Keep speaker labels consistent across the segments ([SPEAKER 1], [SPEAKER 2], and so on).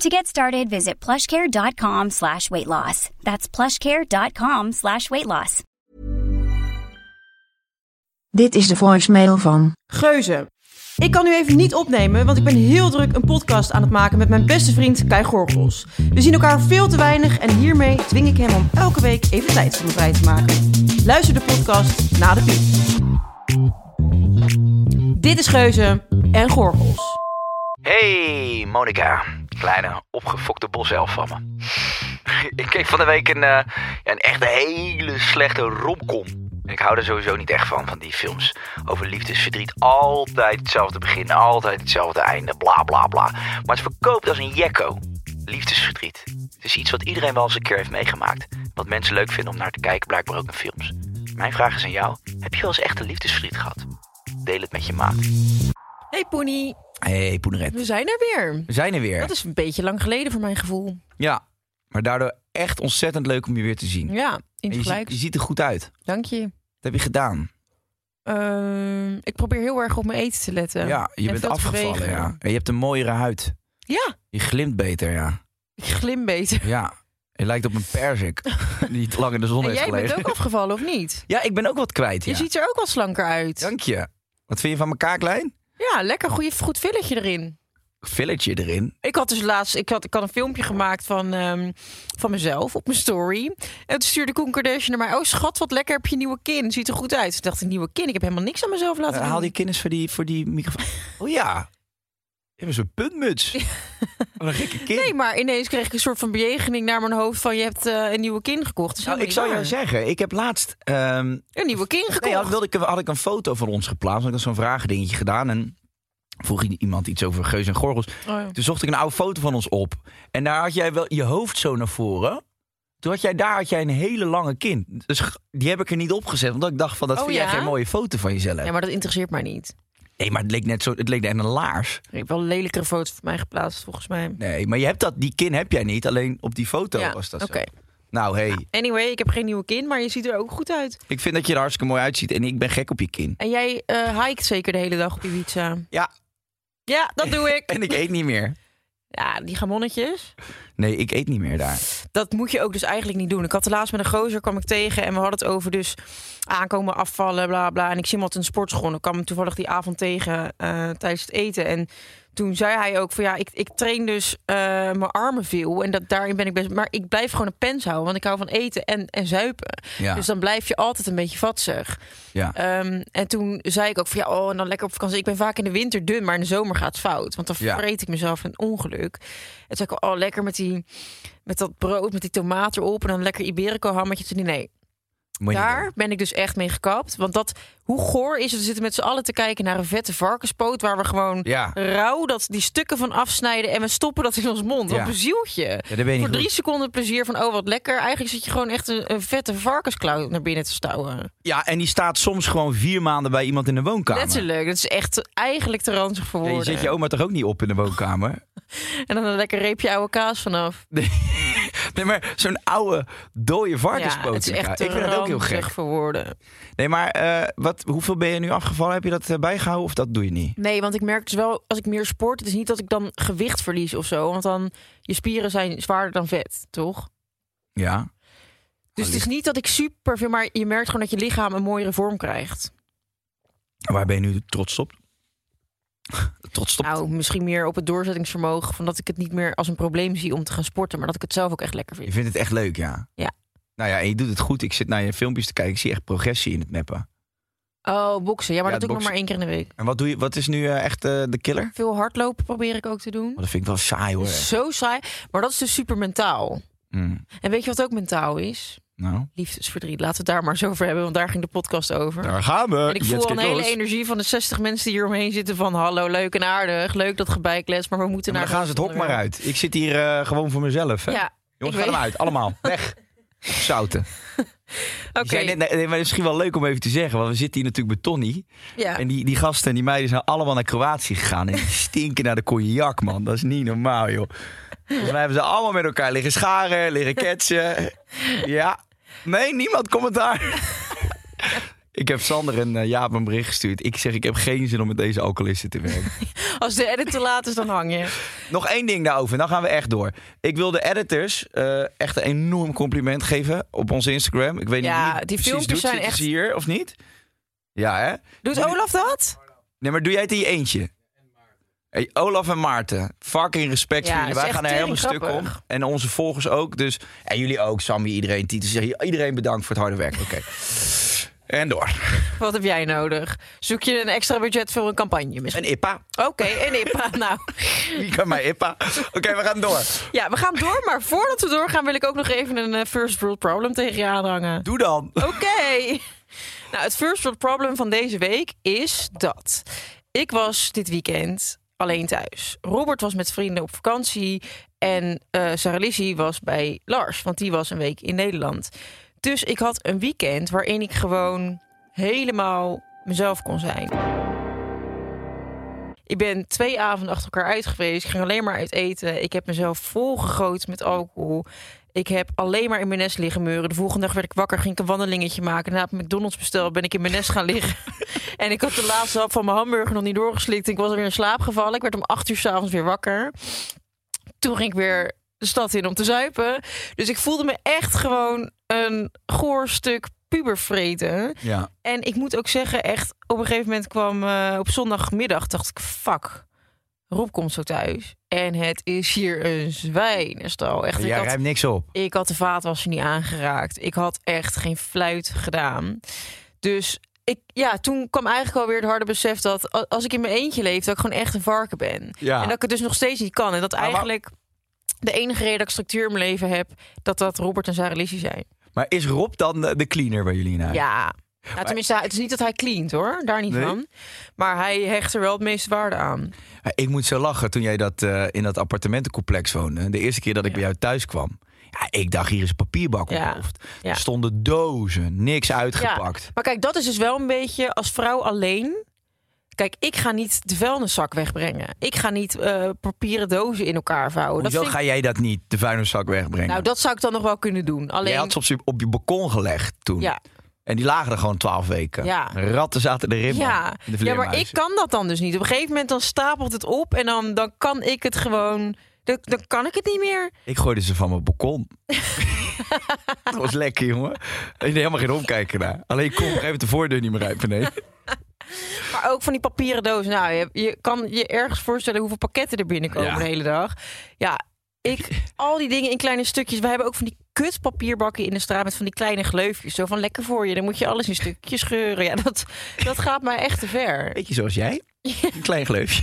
[SPEAKER 1] To get started, visit plushcare.com slash weight loss. That's plushcare.com slash weight loss.
[SPEAKER 2] Dit is de voicemail van.
[SPEAKER 3] Geuze. Ik kan nu even niet opnemen, want ik ben heel druk een podcast aan het maken met mijn beste vriend Kai Gorgels. We zien elkaar veel te weinig en hiermee dwing ik hem om elke week even tijd voor me vrij te maken. Luister de podcast na de piep. Dit is Geuze en Gorgels.
[SPEAKER 4] Hey Monica, kleine opgefokte boself van me. ik keek van de week een, eh, ja, een echt hele slechte romcom. En ik hou er sowieso niet echt van, van die films. Over liefdesverdriet, altijd hetzelfde begin, altijd hetzelfde einde, bla bla bla. Maar het verkoopt als een jekko. Liefdesverdriet. Het is iets wat iedereen wel eens een keer heeft meegemaakt. Wat mensen leuk vinden om naar te kijken, blijkbaar ook in films. Mijn vraag is aan jou, heb je wel eens echte liefdesverdriet gehad? Deel het met je maat.
[SPEAKER 3] Hey Poenie,
[SPEAKER 4] hey, Poeneret.
[SPEAKER 3] we zijn er weer.
[SPEAKER 4] We zijn er weer.
[SPEAKER 3] Dat is een beetje lang geleden voor mijn gevoel.
[SPEAKER 4] Ja, maar daardoor echt ontzettend leuk om je weer te zien.
[SPEAKER 3] Ja, in
[SPEAKER 4] En
[SPEAKER 3] het
[SPEAKER 4] je,
[SPEAKER 3] gelijk.
[SPEAKER 4] ziet, je ziet er goed uit. Dat
[SPEAKER 3] Dank je.
[SPEAKER 4] heb je gedaan.
[SPEAKER 3] Ehm, ik probeer heel erg op mijn eten te letten.
[SPEAKER 4] Ja, je
[SPEAKER 3] En
[SPEAKER 4] bent
[SPEAKER 3] veel te
[SPEAKER 4] afgevallen.
[SPEAKER 3] bewegen.
[SPEAKER 4] Ja. En je hebt een mooiere huid.
[SPEAKER 3] Ja,
[SPEAKER 4] Je glimt beter, ja.
[SPEAKER 3] ik glim beter.
[SPEAKER 4] Ja. Je lijkt op een perzik die te lang in de zon
[SPEAKER 3] En
[SPEAKER 4] heeft
[SPEAKER 3] jij bent
[SPEAKER 4] gelegen.
[SPEAKER 3] ook afgevallen, of niet?
[SPEAKER 4] Ja, ik ben ook wat kwijt,
[SPEAKER 3] Je
[SPEAKER 4] ja.
[SPEAKER 3] ziet er ook wat slanker uit.
[SPEAKER 4] Dank je. Wat vind je van mijn kaaklijn?
[SPEAKER 3] Ja, lekker goeie, goed villetje erin.
[SPEAKER 4] Filletje erin.
[SPEAKER 3] Ik had dus laatst, ik had, ik had een filmpje gemaakt van, ehm, van mezelf op mijn story. En toen stuurde Koen Kardashian naar mij, oh schat, wat lekker heb je nieuwe kin. Ziet er goed uit. Toen dacht ik, nieuwe kin? Ik heb helemaal niks aan mezelf laten
[SPEAKER 4] Eh,
[SPEAKER 3] doen.
[SPEAKER 4] haal die kennis voor die, voor die microfoon. Oh ja. Je hebt zo'n puntmuts. Wat een gekke kind.
[SPEAKER 3] Nee, maar ineens kreeg ik een soort van bejegening naar mijn hoofd van je hebt eh, een nieuwe kin gekocht. Dat is
[SPEAKER 4] Nou, ik
[SPEAKER 3] helemaal
[SPEAKER 4] zou
[SPEAKER 3] niet
[SPEAKER 4] jou
[SPEAKER 3] waar.
[SPEAKER 4] zeggen, ik heb laatst ehm,
[SPEAKER 3] Een nieuwe kin gekocht.
[SPEAKER 4] Nee, had, wilde ik, had ik een foto van ons geplaatst. want Ik had zo'n vragendingetje gedaan. En vroeg i- iemand iets over geus en gorgels.
[SPEAKER 3] Oh ja.
[SPEAKER 4] Toen zocht ik een oude foto van ons op. En daar had jij wel je hoofd zo naar voren. Toen had jij, daar had jij een hele lange kin. Dus g- die heb ik er niet opgezet. Omdat ik dacht van, dat
[SPEAKER 3] Oh,
[SPEAKER 4] vind
[SPEAKER 3] ja?
[SPEAKER 4] jij geen mooie foto van jezelf.
[SPEAKER 3] Ja, maar dat interesseert mij niet.
[SPEAKER 4] Nee, maar het leek net zo, het leek net een laars.
[SPEAKER 3] Ik heb wel lelijkere foto's van mij geplaatst, volgens mij.
[SPEAKER 4] Nee, maar je hebt dat, die kin heb jij niet. Alleen op die foto
[SPEAKER 3] Ja,
[SPEAKER 4] was dat
[SPEAKER 3] Oké.
[SPEAKER 4] zo. Nou, hey,
[SPEAKER 3] Anyway, ik heb geen nieuwe kin, maar je ziet er ook goed uit.
[SPEAKER 4] ik vind dat je er hartstikke mooi uitziet. En ik ben gek op je kin.
[SPEAKER 3] En jij eh hikt zeker de hele dag op Ibiza.
[SPEAKER 4] Ja,
[SPEAKER 3] Ja, dat doe ik.
[SPEAKER 4] en ik eet niet meer.
[SPEAKER 3] Ja, die gamonnetjes.
[SPEAKER 4] Nee, ik eet niet meer daar.
[SPEAKER 3] Dat moet je ook dus eigenlijk niet doen. Ik had de laatst met een gozer kwam ik tegen en we hadden het over dus aankomen, afvallen, bla bla. En ik zie hem altijd in de sportschool. Ik kwam hem toevallig die avond tegen eh, tijdens het eten. En toen zei hij ook van ja, ik, ik train dus eh, mijn armen veel en dat, daarin ben ik best. Maar ik blijf gewoon een pens houden, want ik hou van eten en, en zuipen.
[SPEAKER 4] Ja.
[SPEAKER 3] Dus dan blijf je altijd een beetje vatsig.
[SPEAKER 4] Ja.
[SPEAKER 3] Ehm, en toen zei ik ook van ja, oh, en dan lekker op vakantie. Ik ben vaak in de winter dun, maar in de zomer gaat het fout. Want dan
[SPEAKER 4] Ja.
[SPEAKER 3] vreet ik mezelf een ongeluk. En toen zei ik al, oh, lekker met, die, met dat brood, met die tomaat erop. En dan lekker Iberico hammetje. Toen nee,
[SPEAKER 4] Moet je niet
[SPEAKER 3] daar ben ik dus echt mee gekapt. Want dat, hoe goor is het? We zitten met z'n allen te kijken naar een vette varkenspoot... waar we gewoon
[SPEAKER 4] Ja.
[SPEAKER 3] rauw dat, die stukken van afsnijden... en we stoppen dat in ons mond. Wat
[SPEAKER 4] Ja.
[SPEAKER 3] een zieltje.
[SPEAKER 4] Ja, daar ben je
[SPEAKER 3] Voor
[SPEAKER 4] niet
[SPEAKER 3] drie
[SPEAKER 4] goed.
[SPEAKER 3] seconden plezier van, oh, wat lekker. Eigenlijk zit je gewoon echt een, een vette varkensklauw naar binnen te stouwen.
[SPEAKER 4] Ja, en die staat soms gewoon vier maanden bij iemand in de woonkamer.
[SPEAKER 3] Letterlijk. Dat is echt eigenlijk te ranzig voor
[SPEAKER 4] Nee, je
[SPEAKER 3] woorden.
[SPEAKER 4] zet je oma toch ook niet op in de woonkamer?
[SPEAKER 3] En dan een lekker reepje oude kaas vanaf.
[SPEAKER 4] Nee, maar zo'n oude, dode varkenspoot.
[SPEAKER 3] ja, het is
[SPEAKER 4] in elkaar.
[SPEAKER 3] echt te
[SPEAKER 4] ik vind dat ook heel
[SPEAKER 3] ranzig
[SPEAKER 4] gek.
[SPEAKER 3] voor woorden.
[SPEAKER 4] Nee, maar eh, wat, hoeveel ben je nu afgevallen? Heb je dat eh, bijgehouden of dat doe je niet?
[SPEAKER 3] Nee, want ik merk dus wel, als ik meer sport... het is niet dat ik dan gewicht verlies of zo. Want dan, je spieren zijn zwaarder dan vet, toch?
[SPEAKER 4] Ja.
[SPEAKER 3] Dus het is niet dat ik super veel, maar je merkt gewoon dat je lichaam een mooiere vorm krijgt.
[SPEAKER 4] Waar ben je nu trots op? trots op?
[SPEAKER 3] Nou, misschien meer op het doorzettingsvermogen, van dat ik het niet meer als een probleem zie om te gaan sporten, maar dat ik het zelf ook echt lekker
[SPEAKER 4] Je
[SPEAKER 3] vind.
[SPEAKER 4] vindt het echt leuk, ja?
[SPEAKER 3] Ja.
[SPEAKER 4] Nou ja, en je doet het goed. Ik zit naar je filmpjes te kijken. Ik zie echt progressie in het meppen.
[SPEAKER 3] Oh, boksen. Ja, maar
[SPEAKER 4] Ja,
[SPEAKER 3] dat doe ik nog
[SPEAKER 4] boksen.
[SPEAKER 3] maar één keer in de week.
[SPEAKER 4] En wat, doe je, wat is nu eh, echt eh, de killer?
[SPEAKER 3] Veel hardlopen probeer ik ook te doen.
[SPEAKER 4] Oh, dat vind ik wel saai hoor. echt.
[SPEAKER 3] Zo saai. Maar dat is dus super mentaal.
[SPEAKER 4] Mm,
[SPEAKER 3] En weet je wat ook mentaal is?
[SPEAKER 4] nou,
[SPEAKER 3] Liefdesverdriet. Laten we het daar maar eens over hebben, want daar ging de podcast over.
[SPEAKER 4] daar gaan we.
[SPEAKER 3] En ik voel al een hele energie van de 60 mensen die hier omheen zitten van... hallo, leuk en aardig, leuk dat gebijkles, maar we moeten
[SPEAKER 4] Maar dan
[SPEAKER 3] naar...
[SPEAKER 4] gaan ze het hok maar uit. Ik zit hier eh, gewoon voor mezelf. Hè?
[SPEAKER 3] Ja,
[SPEAKER 4] Jongens,
[SPEAKER 3] ik
[SPEAKER 4] ga
[SPEAKER 3] weet-
[SPEAKER 4] hem uit. Allemaal. Weg. Zouten.
[SPEAKER 3] oké.
[SPEAKER 4] Jij net- nee, maar misschien wel leuk om even te zeggen. Want we zitten hier natuurlijk bij Tony.
[SPEAKER 3] Ja.
[SPEAKER 4] En die, die gasten en die meiden zijn allemaal naar Kroatië gegaan. En die stinken naar de cognac, man. Dat is niet normaal, joh. Volgens mij hebben ze allemaal met elkaar liggen scharen, liggen ketsen. Ja. Nee, niemand commentaar. Ik heb Sander en eh, Jaap een bericht gestuurd. Ik zeg, ik heb geen zin om met deze alcoholisten te werken.
[SPEAKER 3] Als de edit te laat is, dan hang je.
[SPEAKER 4] Nog één ding daarover, dan gaan we echt door. Ik wil de editors eh, echt een enorm compliment geven op onze Instagram. Ik weet
[SPEAKER 3] Ja,
[SPEAKER 4] niet wie
[SPEAKER 3] die
[SPEAKER 4] het precies
[SPEAKER 3] filmpjes
[SPEAKER 4] doet.
[SPEAKER 3] zijn
[SPEAKER 4] Zitten ze
[SPEAKER 3] echt-
[SPEAKER 4] hier of niet? Ja, hè?
[SPEAKER 3] Doet Olaf dat?
[SPEAKER 4] Nee, maar doe jij het in je eentje? Hey, Olaf en Maarten, fucking respect
[SPEAKER 3] Ja,
[SPEAKER 4] voor jullie.
[SPEAKER 3] het is
[SPEAKER 4] Wij
[SPEAKER 3] echt
[SPEAKER 4] gaan er helemaal stuk om.
[SPEAKER 3] teringgrappig.
[SPEAKER 4] En onze volgers ook. Dus, en jullie ook, Sammy, iedereen. Titus, iedereen bedankt voor het harde werk. Oké. En door.
[SPEAKER 3] Wat heb jij nodig? Zoek je een extra budget voor een campagne misschien?
[SPEAKER 4] En Ippa.
[SPEAKER 3] Oké, en ik praat nou.
[SPEAKER 4] Wie kan mij Ippa? Oké, we gaan door.
[SPEAKER 3] Ja, we gaan door, maar voordat we doorgaan wil ik ook nog even een eh, first world problem tegen je aanhangen.
[SPEAKER 4] Doe dan.
[SPEAKER 3] Oké. Nou, het first world problem van deze week is dat. Ik was dit weekend alleen thuis. Robert was met vrienden op vakantie. En eh Sarah Lizzie was bij Lars, want die was een week in Nederland. Dus ik had een weekend waarin ik gewoon helemaal mezelf kon zijn. Ik ben twee avonden achter elkaar uit geweest. Ik ging alleen maar uit eten. Ik heb mezelf volgegooid met alcohol. Ik heb alleen maar in mijn nest liggen meuren. De volgende dag werd ik wakker, ging ik een wandelingetje maken. Na het McDonald's bestel ben ik in mijn nest gaan liggen. en ik had de laatste hap van mijn hamburger nog niet doorgeslikt. Ik was alweer in slaap gevallen. Ik werd om acht uur s'avonds weer wakker. Toen ging ik weer de stad in om te zuipen. Dus ik voelde me echt gewoon een goor stuk pubervreten.
[SPEAKER 4] Ja.
[SPEAKER 3] En ik moet ook zeggen, echt, op een gegeven moment kwam eh, op zondagmiddag, dacht ik, fuck, Rob komt zo thuis. En het is hier een zwijnenstal. Echt, ik
[SPEAKER 4] Jij
[SPEAKER 3] had,
[SPEAKER 4] rijmt niks op.
[SPEAKER 3] ik had de vaatwasser niet aangeraakt. Ik had echt geen fluit gedaan. Dus ik, ja, toen kwam eigenlijk alweer het harde besef dat a- als ik in mijn eentje leef, dat ik gewoon echt een varken ben.
[SPEAKER 4] Ja.
[SPEAKER 3] En dat ik het dus nog steeds niet kan. En dat
[SPEAKER 4] wa-
[SPEAKER 3] eigenlijk de enige reden dat ik structuur in mijn leven heb, dat dat Robert en Sarah Lizzie zijn.
[SPEAKER 4] Maar is Rob dan de de cleaner bij jullie in huis?
[SPEAKER 3] Ja. Nou, tenminste, het is niet dat hij cleant hoor, daar niet
[SPEAKER 4] Nee?
[SPEAKER 3] van. Maar hij hecht er wel het meeste waarde aan.
[SPEAKER 4] Maar Ik moet zo lachen toen jij dat, eh, in dat appartementencomplex woonde. De eerste keer dat ik bij jou thuis kwam. Ja, ik dacht, hier is een papierbak
[SPEAKER 3] Ja.
[SPEAKER 4] ontploft.
[SPEAKER 3] Ja.
[SPEAKER 4] Er stonden dozen, niks uitgepakt.
[SPEAKER 3] Maar kijk, dat is dus wel een beetje als vrouw alleen. Kijk, ik ga niet de vuilniszak wegbrengen. Ik ga niet eh, papieren dozen in elkaar vouwen.
[SPEAKER 4] Hoezo
[SPEAKER 3] Oh, vind ik-
[SPEAKER 4] ga jij dat niet, de vuilniszak wegbrengen?
[SPEAKER 3] Nou, dat zou ik dan nog wel kunnen doen. Alleen,
[SPEAKER 4] Jij had ze op, je- op je balkon gelegd toen.
[SPEAKER 3] ja,
[SPEAKER 4] En die lagen er gewoon twaalf weken.
[SPEAKER 3] Ja.
[SPEAKER 4] Ratten zaten erin. man,
[SPEAKER 3] ja.
[SPEAKER 4] in
[SPEAKER 3] ja, maar ik
[SPEAKER 4] de vleermuizen.
[SPEAKER 3] kan dat dan dus niet. Op een gegeven moment dan stapelt het op en dan, dan kan ik het gewoon. Dan, dan kan ik het niet meer.
[SPEAKER 4] Ik gooide ze van mijn balkon. dat was lekker, jongen. Ik deed helemaal geen omkijken naar. Alleen ik kon op een gegeven moment de voordeur niet meer uit beneden.
[SPEAKER 3] Maar ook van die papieren dozen. Nou, je, je kan je ergens voorstellen hoeveel pakketten er binnenkomen
[SPEAKER 4] Ja.
[SPEAKER 3] de hele dag. Ja, ik, al die dingen in kleine stukjes. We hebben ook van die kut papierbakken in de straat met van die kleine gleufjes. Zo van lekker voor je. Dan moet je alles in stukjes scheuren. Ja, dat, dat gaat mij echt te ver.
[SPEAKER 4] Beetje zoals jij. Een klein gleufje.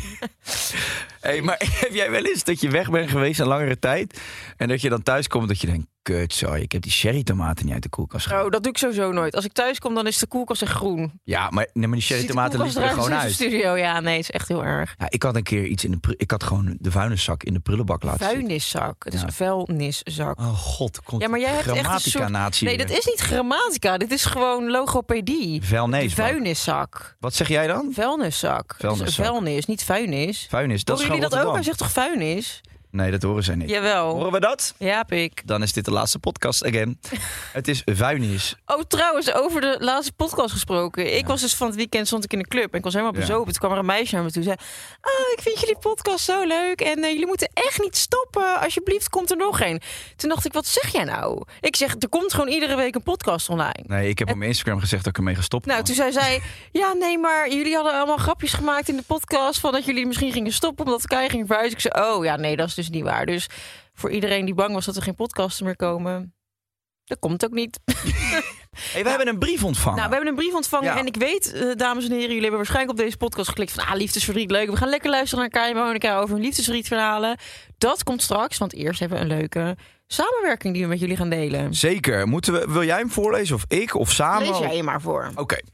[SPEAKER 4] hey, maar heb jij wel eens dat je weg bent geweest een langere tijd... en dat je dan thuis komt dat je denkt... kut, sorry, ik heb die sherrytomaten niet uit de koelkast gehaald.
[SPEAKER 3] Oh, dat doe ik sowieso nooit. Als ik thuis kom, dan is de koelkast echt groen.
[SPEAKER 4] Ja, maar, nee, maar
[SPEAKER 3] Ziet
[SPEAKER 4] die
[SPEAKER 3] de
[SPEAKER 4] sherrytomaten
[SPEAKER 3] koelkast
[SPEAKER 4] liepen er
[SPEAKER 3] eruit
[SPEAKER 4] gewoon
[SPEAKER 3] als in
[SPEAKER 4] uit.
[SPEAKER 3] zo'n studio. Ja, nee, het is echt heel erg.
[SPEAKER 4] Ja, ik had een keer iets in de... pru- Ik had gewoon de vuilniszak in de prullenbak laten zitten.
[SPEAKER 3] Vuilniszak. Het is
[SPEAKER 4] Ja.
[SPEAKER 3] een vuilniszak.
[SPEAKER 4] Oh god, komt
[SPEAKER 3] Ja, maar jij hebt echt een soort...
[SPEAKER 4] grammatica-natie
[SPEAKER 3] Nee,
[SPEAKER 4] weer.
[SPEAKER 3] dat is niet grammatica. Dit is gewoon logopedie.
[SPEAKER 4] Vuilnis.
[SPEAKER 3] Vuilniszak.
[SPEAKER 4] Wat zeg jij dan?
[SPEAKER 3] Vuilniszak.
[SPEAKER 4] Vuilniszak.
[SPEAKER 3] Dus vuilnis, niet vuilnis.
[SPEAKER 4] Vuilnis, dat
[SPEAKER 3] Horen
[SPEAKER 4] is
[SPEAKER 3] jullie dat
[SPEAKER 4] gewoon
[SPEAKER 3] ook? Hij
[SPEAKER 4] Rotterdam.
[SPEAKER 3] zegt toch vuilnis?
[SPEAKER 4] Nee, dat horen zij niet.
[SPEAKER 3] Jawel.
[SPEAKER 4] Horen we dat?
[SPEAKER 3] Ja, pik.
[SPEAKER 4] Dan is dit de laatste podcast again. Het is vuilnis.
[SPEAKER 3] Oh, trouwens, over de laatste podcast gesproken. Ik was dus van het weekend stond ik in een club en ik was helemaal
[SPEAKER 4] Ja.
[SPEAKER 3] bezopen. Toen kwam er een meisje naar me toe en zei... Oh, ik vind jullie podcast zo leuk en eh, jullie moeten echt niet stoppen. Alsjeblieft, komt er nog een. Toen dacht ik, wat zeg jij nou? Ik zeg, er komt gewoon iedere week een podcast online.
[SPEAKER 4] Nee, ik heb op mijn Instagram gezegd dat ik ermee gestopt
[SPEAKER 3] Nou,
[SPEAKER 4] was.
[SPEAKER 3] toen zei zij... Ja, nee, maar jullie hadden allemaal grapjes gemaakt in de podcast... van dat jullie misschien gingen stoppen omdat ik ging verhuizen. Ik zei, oh ja, nee, dat is dus niet waar. Dus voor iedereen die bang was dat er geen podcasten meer komen... Dat komt ook niet.
[SPEAKER 4] Hey, we hebben een brief ontvangen.
[SPEAKER 3] Nou, we hebben een brief ontvangen
[SPEAKER 4] Ja.
[SPEAKER 3] en ik weet, eh, dames en heren, jullie hebben waarschijnlijk op deze podcast geklikt van ah, liefdesverdriet, leuk. We gaan lekker luisteren naar Kai en Monica over hun liefdesverdrietverhalen. Dat komt straks, want eerst hebben we een leuke samenwerking die we met jullie gaan delen.
[SPEAKER 4] Zeker. Moeten we, wil jij hem voorlezen of ik of samen?
[SPEAKER 3] Lees jij
[SPEAKER 4] Oké,
[SPEAKER 3] je maar voor.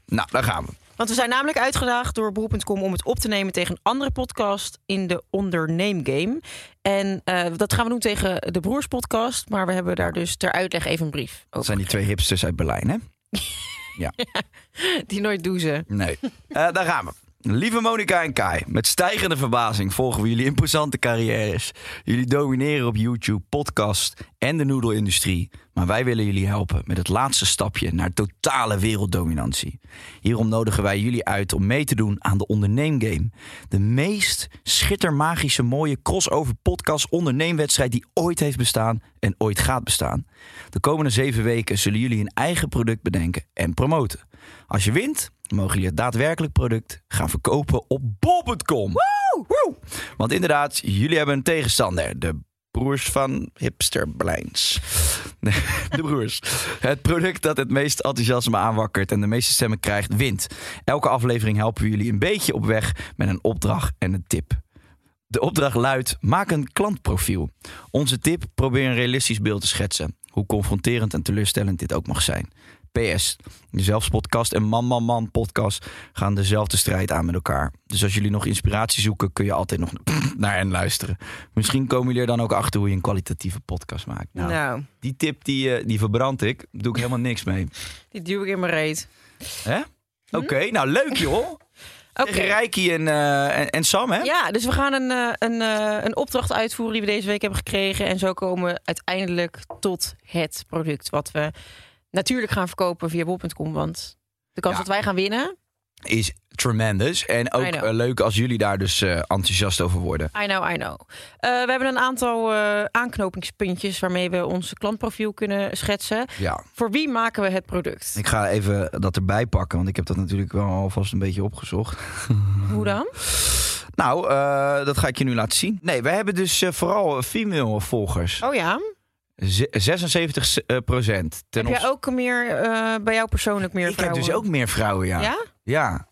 [SPEAKER 4] nou, daar gaan we.
[SPEAKER 3] Want we zijn namelijk uitgedaagd door Beroep.com om het op te nemen tegen een andere podcast in de onderneemgame. En eh, dat gaan we doen tegen de Broers podcast, maar we hebben daar dus ter uitleg even een brief
[SPEAKER 4] Dat
[SPEAKER 3] over.
[SPEAKER 4] zijn die twee hipsters uit Berlijn, hè?
[SPEAKER 3] Die nooit doezen.
[SPEAKER 4] Nee. Eh, daar gaan we. Lieve Monica en Kai, met stijgende verbazing volgen we jullie imposante carrières. Jullie domineren op YouTube, podcast en de noedelindustrie. Maar wij willen jullie helpen met het laatste stapje naar totale werelddominantie. Hierom nodigen wij jullie uit om mee te doen aan de Onderneemgame. De meest schittermagische mooie crossover podcast onderneemwedstrijd die ooit heeft bestaan en ooit gaat bestaan. De komende zeven weken zullen jullie een eigen product bedenken en promoten. Als je wint, mogen jullie het daadwerkelijk product gaan verkopen op bol.com. Woe! Want inderdaad, jullie hebben een tegenstander. De broers van hipster Berlijns. Nee, De broers. Het product dat het meest enthousiasme aanwakkert en de meeste stemmen krijgt, wint. Elke aflevering helpen we jullie een beetje op weg met een opdracht en een tip. De opdracht luidt: maak een klantprofiel. Onze tip: probeer een realistisch beeld te schetsen. Hoe confronterend en teleurstellend dit ook mag zijn. PS, de Zelfspodcast en Man Man Man podcast gaan dezelfde strijd aan met elkaar. Dus als jullie nog inspiratie zoeken, kun je altijd nog naar hen luisteren. Misschien komen jullie er dan ook achter hoe je een kwalitatieve podcast maakt. Nou,
[SPEAKER 3] Nou,
[SPEAKER 4] Die tip die, eh, die verbrand ik, Daar doe ik helemaal niks mee.
[SPEAKER 3] die duw ik in mijn reet.
[SPEAKER 4] Hè? Oké, nou leuk joh.
[SPEAKER 3] Mhm. Oké.
[SPEAKER 4] Tegen Rijkie en, eh, en, en Sam, hè?
[SPEAKER 3] Ja, dus we gaan een, eh, een, eh, een opdracht uitvoeren die we deze week hebben gekregen. En zo komen we uiteindelijk tot het product wat we natuurlijk gaan verkopen via bol.com. Want de kans
[SPEAKER 4] Ja.
[SPEAKER 3] dat wij gaan winnen,
[SPEAKER 4] is tremendous. En ook
[SPEAKER 3] I know.
[SPEAKER 4] eh, leuk als jullie daar dus eh, enthousiast over worden.
[SPEAKER 3] I know, I know. Eh, we hebben een aantal eh, aanknopingspuntjes waarmee we ons klantprofiel kunnen schetsen.
[SPEAKER 4] Ja.
[SPEAKER 3] Voor wie maken we het product?
[SPEAKER 4] Ik ga even dat erbij pakken, want ik heb dat natuurlijk wel alvast een beetje opgezocht.
[SPEAKER 3] Hoe dan?
[SPEAKER 4] Nou, eh, dat ga ik je nu laten zien. Nee, wij hebben dus eh, vooral female volgers.
[SPEAKER 3] Oh ja,
[SPEAKER 4] Ze- 76 s- eh, procent. Ten
[SPEAKER 3] heb jij
[SPEAKER 4] opz-
[SPEAKER 3] ook meer eh, bij jou persoonlijk meer
[SPEAKER 4] ik heb dus ook
[SPEAKER 3] vrouwen?
[SPEAKER 4] meer vrouwen, ja. Oh
[SPEAKER 3] Ja?
[SPEAKER 4] Ja.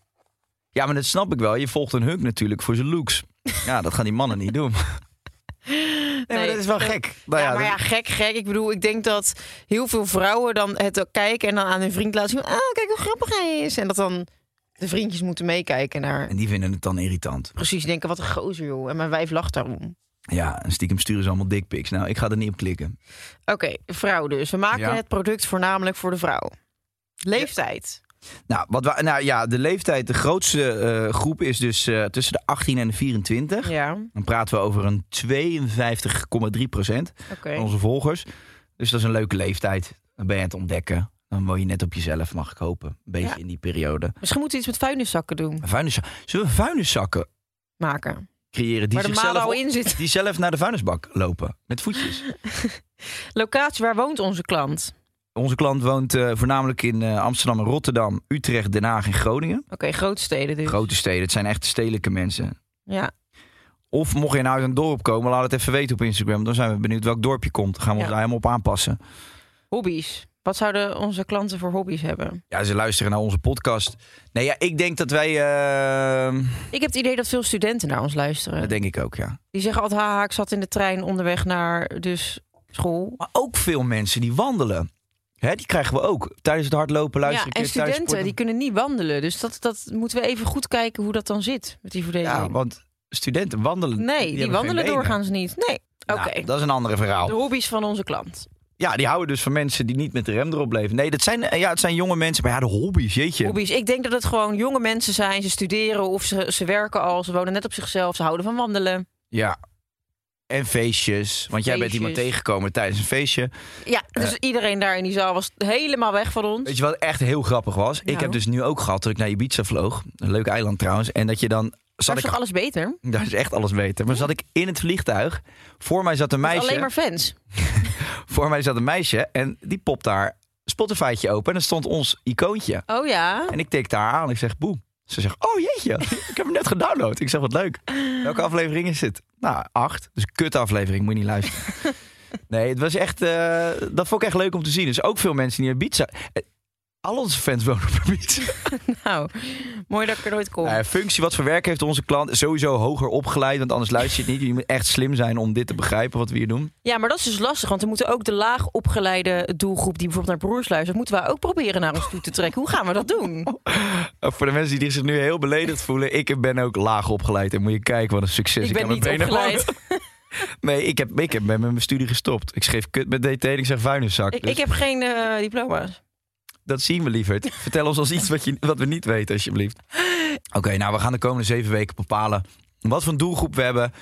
[SPEAKER 4] Ja, maar dat snap ik wel. Je volgt een hunk natuurlijk voor zijn looks. Ja, dat gaan die mannen niet doen. Nee, maar
[SPEAKER 3] Nee.
[SPEAKER 4] dat is wel gek. Nou
[SPEAKER 3] ja,
[SPEAKER 4] ja,
[SPEAKER 3] maar ja,
[SPEAKER 4] dat-
[SPEAKER 3] gek, gek. Ik bedoel, ik denk dat heel veel vrouwen dan het ook kijken en dan aan hun vriend laten zien. Ah, kijk hoe grappig hij is. En dat dan de vriendjes moeten meekijken naar
[SPEAKER 4] En die vinden het dan irritant.
[SPEAKER 3] precies denken, wat een gozer joh. En mijn wijf lacht daarom.
[SPEAKER 4] Ja, en stiekem sturen ze allemaal dickpics. Nou, ik ga er niet op klikken.
[SPEAKER 3] Oké, vrouw dus. We maken
[SPEAKER 4] Ja.
[SPEAKER 3] het product voornamelijk voor de vrouw. Leeftijd.
[SPEAKER 4] Nou, wat we, nou ja, de leeftijd, de grootste eh, groep is dus eh, tussen de 18 en de 24.
[SPEAKER 3] Ja,
[SPEAKER 4] Dan praten we over een 52,3 procent
[SPEAKER 3] oké.
[SPEAKER 4] van onze volgers. Dus dat is een leuke leeftijd. Dan ben je aan het ontdekken. Dan woon je net op jezelf, mag ik hopen. Een beetje
[SPEAKER 3] Ja.
[SPEAKER 4] in die periode.
[SPEAKER 3] Misschien moeten we iets met vuilniszakken doen.
[SPEAKER 4] Vuilnis, zullen we vuilniszakken
[SPEAKER 3] Maken.
[SPEAKER 4] creëren die,
[SPEAKER 3] Waar de
[SPEAKER 4] zichzelf,
[SPEAKER 3] malen in zit.
[SPEAKER 4] die zelf naar de vuilnisbak lopen? Met voetjes.
[SPEAKER 3] Locatie, waar woont onze klant?
[SPEAKER 4] Onze klant woont eh, voornamelijk in eh, Amsterdam en Rotterdam, Utrecht, Den Haag en Groningen.
[SPEAKER 3] Oké, grootsteden dus.
[SPEAKER 4] Grote steden, het zijn echt stedelijke mensen.
[SPEAKER 3] Ja,
[SPEAKER 4] Of mocht je nou uit een dorp komen, laat het even weten op Instagram. Dan zijn we benieuwd welk dorp je komt. Dan gaan we ons
[SPEAKER 3] Ja.
[SPEAKER 4] daar helemaal op aanpassen.
[SPEAKER 3] hobby's. Wat zouden onze klanten voor hobby's hebben?
[SPEAKER 4] Ja, ze luisteren naar onze podcast. Nee, ja, ik denk dat wij... eh,
[SPEAKER 3] Ik heb het idee dat veel studenten naar ons luisteren.
[SPEAKER 4] Dat denk ik ook, ja.
[SPEAKER 3] Die zeggen altijd, haha, ik zat in de trein onderweg naar dus school.
[SPEAKER 4] Maar ook veel mensen die wandelen. Hè, die krijgen we ook. Tijdens het hardlopen luisteren.
[SPEAKER 3] ja, en
[SPEAKER 4] een keer, tijdens
[SPEAKER 3] studenten, die
[SPEAKER 4] sporten.
[SPEAKER 3] kunnen niet wandelen. Dus dat, dat moeten we even goed kijken hoe dat dan zit met die verdeling.
[SPEAKER 4] Ja, want studenten wandelen...
[SPEAKER 3] nee, die,
[SPEAKER 4] hebben geen
[SPEAKER 3] wandelen
[SPEAKER 4] benen.
[SPEAKER 3] doorgaans niet. Nee, oké.
[SPEAKER 4] Nou, dat is een andere verhaal.
[SPEAKER 3] De hobby's van onze klant.
[SPEAKER 4] Ja, die houden dus van mensen die niet met de rem erop leven. Nee, dat zijn, eh, ja, het zijn jonge mensen. Maar ja, de hobby's, jeetje.
[SPEAKER 3] Hobby's. Ik denk dat het gewoon jonge mensen zijn. Ze studeren of ze, ze werken al. Ze wonen net op zichzelf. Ze houden van wandelen.
[SPEAKER 4] Ja. En feestjes. Want jij bent
[SPEAKER 3] Feestjes.
[SPEAKER 4] iemand tegengekomen tijdens een feestje.
[SPEAKER 3] Ja, dus iedereen daar in die zaal was helemaal weg van ons.
[SPEAKER 4] Eh. Weet je wat echt heel grappig was? Ik
[SPEAKER 3] Nou.
[SPEAKER 4] heb dus nu ook gehad dat ik naar Ibiza vloog. Een leuk eiland trouwens. En dat je dan...
[SPEAKER 3] Daar
[SPEAKER 4] Zat
[SPEAKER 3] is
[SPEAKER 4] ik,
[SPEAKER 3] toch alles beter?
[SPEAKER 4] Daar is echt alles beter. Maar zat ik in het vliegtuig. Voor mij zat een meisje.
[SPEAKER 3] Alleen maar fans.
[SPEAKER 4] Voor mij zat een meisje. En die popt haar Spotify'tje open. En er stond ons icoontje.
[SPEAKER 3] Oh ja.
[SPEAKER 4] En ik tikte haar aan. Ik zeg boe. Ze zegt, oh jeetje, ik heb hem net gedownload. Ik zeg, wat leuk. Welke aflevering is het? Nou, acht. Dus kut aflevering, moet je niet luisteren. Nee, het was echt. eh, dat vond ik echt leuk om te zien. Dus ook veel mensen die in Ibiza. eh, Al onze fans wonen op Ibiza.
[SPEAKER 3] Nou, mooi dat ik er nooit kom.
[SPEAKER 4] Nou ja, functie, wat voor werk heeft onze klant? Sowieso hoger opgeleid, want anders luister je het niet. Je moet echt slim zijn om dit te begrijpen wat we hier doen.
[SPEAKER 3] Ja, maar dat is dus lastig, want we moeten ook de laag opgeleide doelgroep die bijvoorbeeld naar broers luistert, moeten we ook proberen naar ons toe te trekken. Hoe gaan we dat doen?
[SPEAKER 4] Ook Eh, voor de mensen die zich nu heel beledigd voelen, ik ben ook laag opgeleid. En moet je kijken wat een succes
[SPEAKER 3] Dus ik
[SPEAKER 4] aan
[SPEAKER 3] ben
[SPEAKER 4] mijn
[SPEAKER 3] niet
[SPEAKER 4] benen
[SPEAKER 3] opgeleid.
[SPEAKER 4] woon. Nee, ik heb, ik heb met mijn studie gestopt. Ik schreef kut met DT en ik zeg vuilniszak.
[SPEAKER 3] Ik,
[SPEAKER 4] Dus
[SPEAKER 3] ik heb geen eh, diploma's.
[SPEAKER 4] Dat zien we lieverd. Vertel ons als iets wat, je, wat we niet weten, alsjeblieft. Oké, nou, we gaan de komende zeven weken bepalen wat voor een doelgroep we hebben.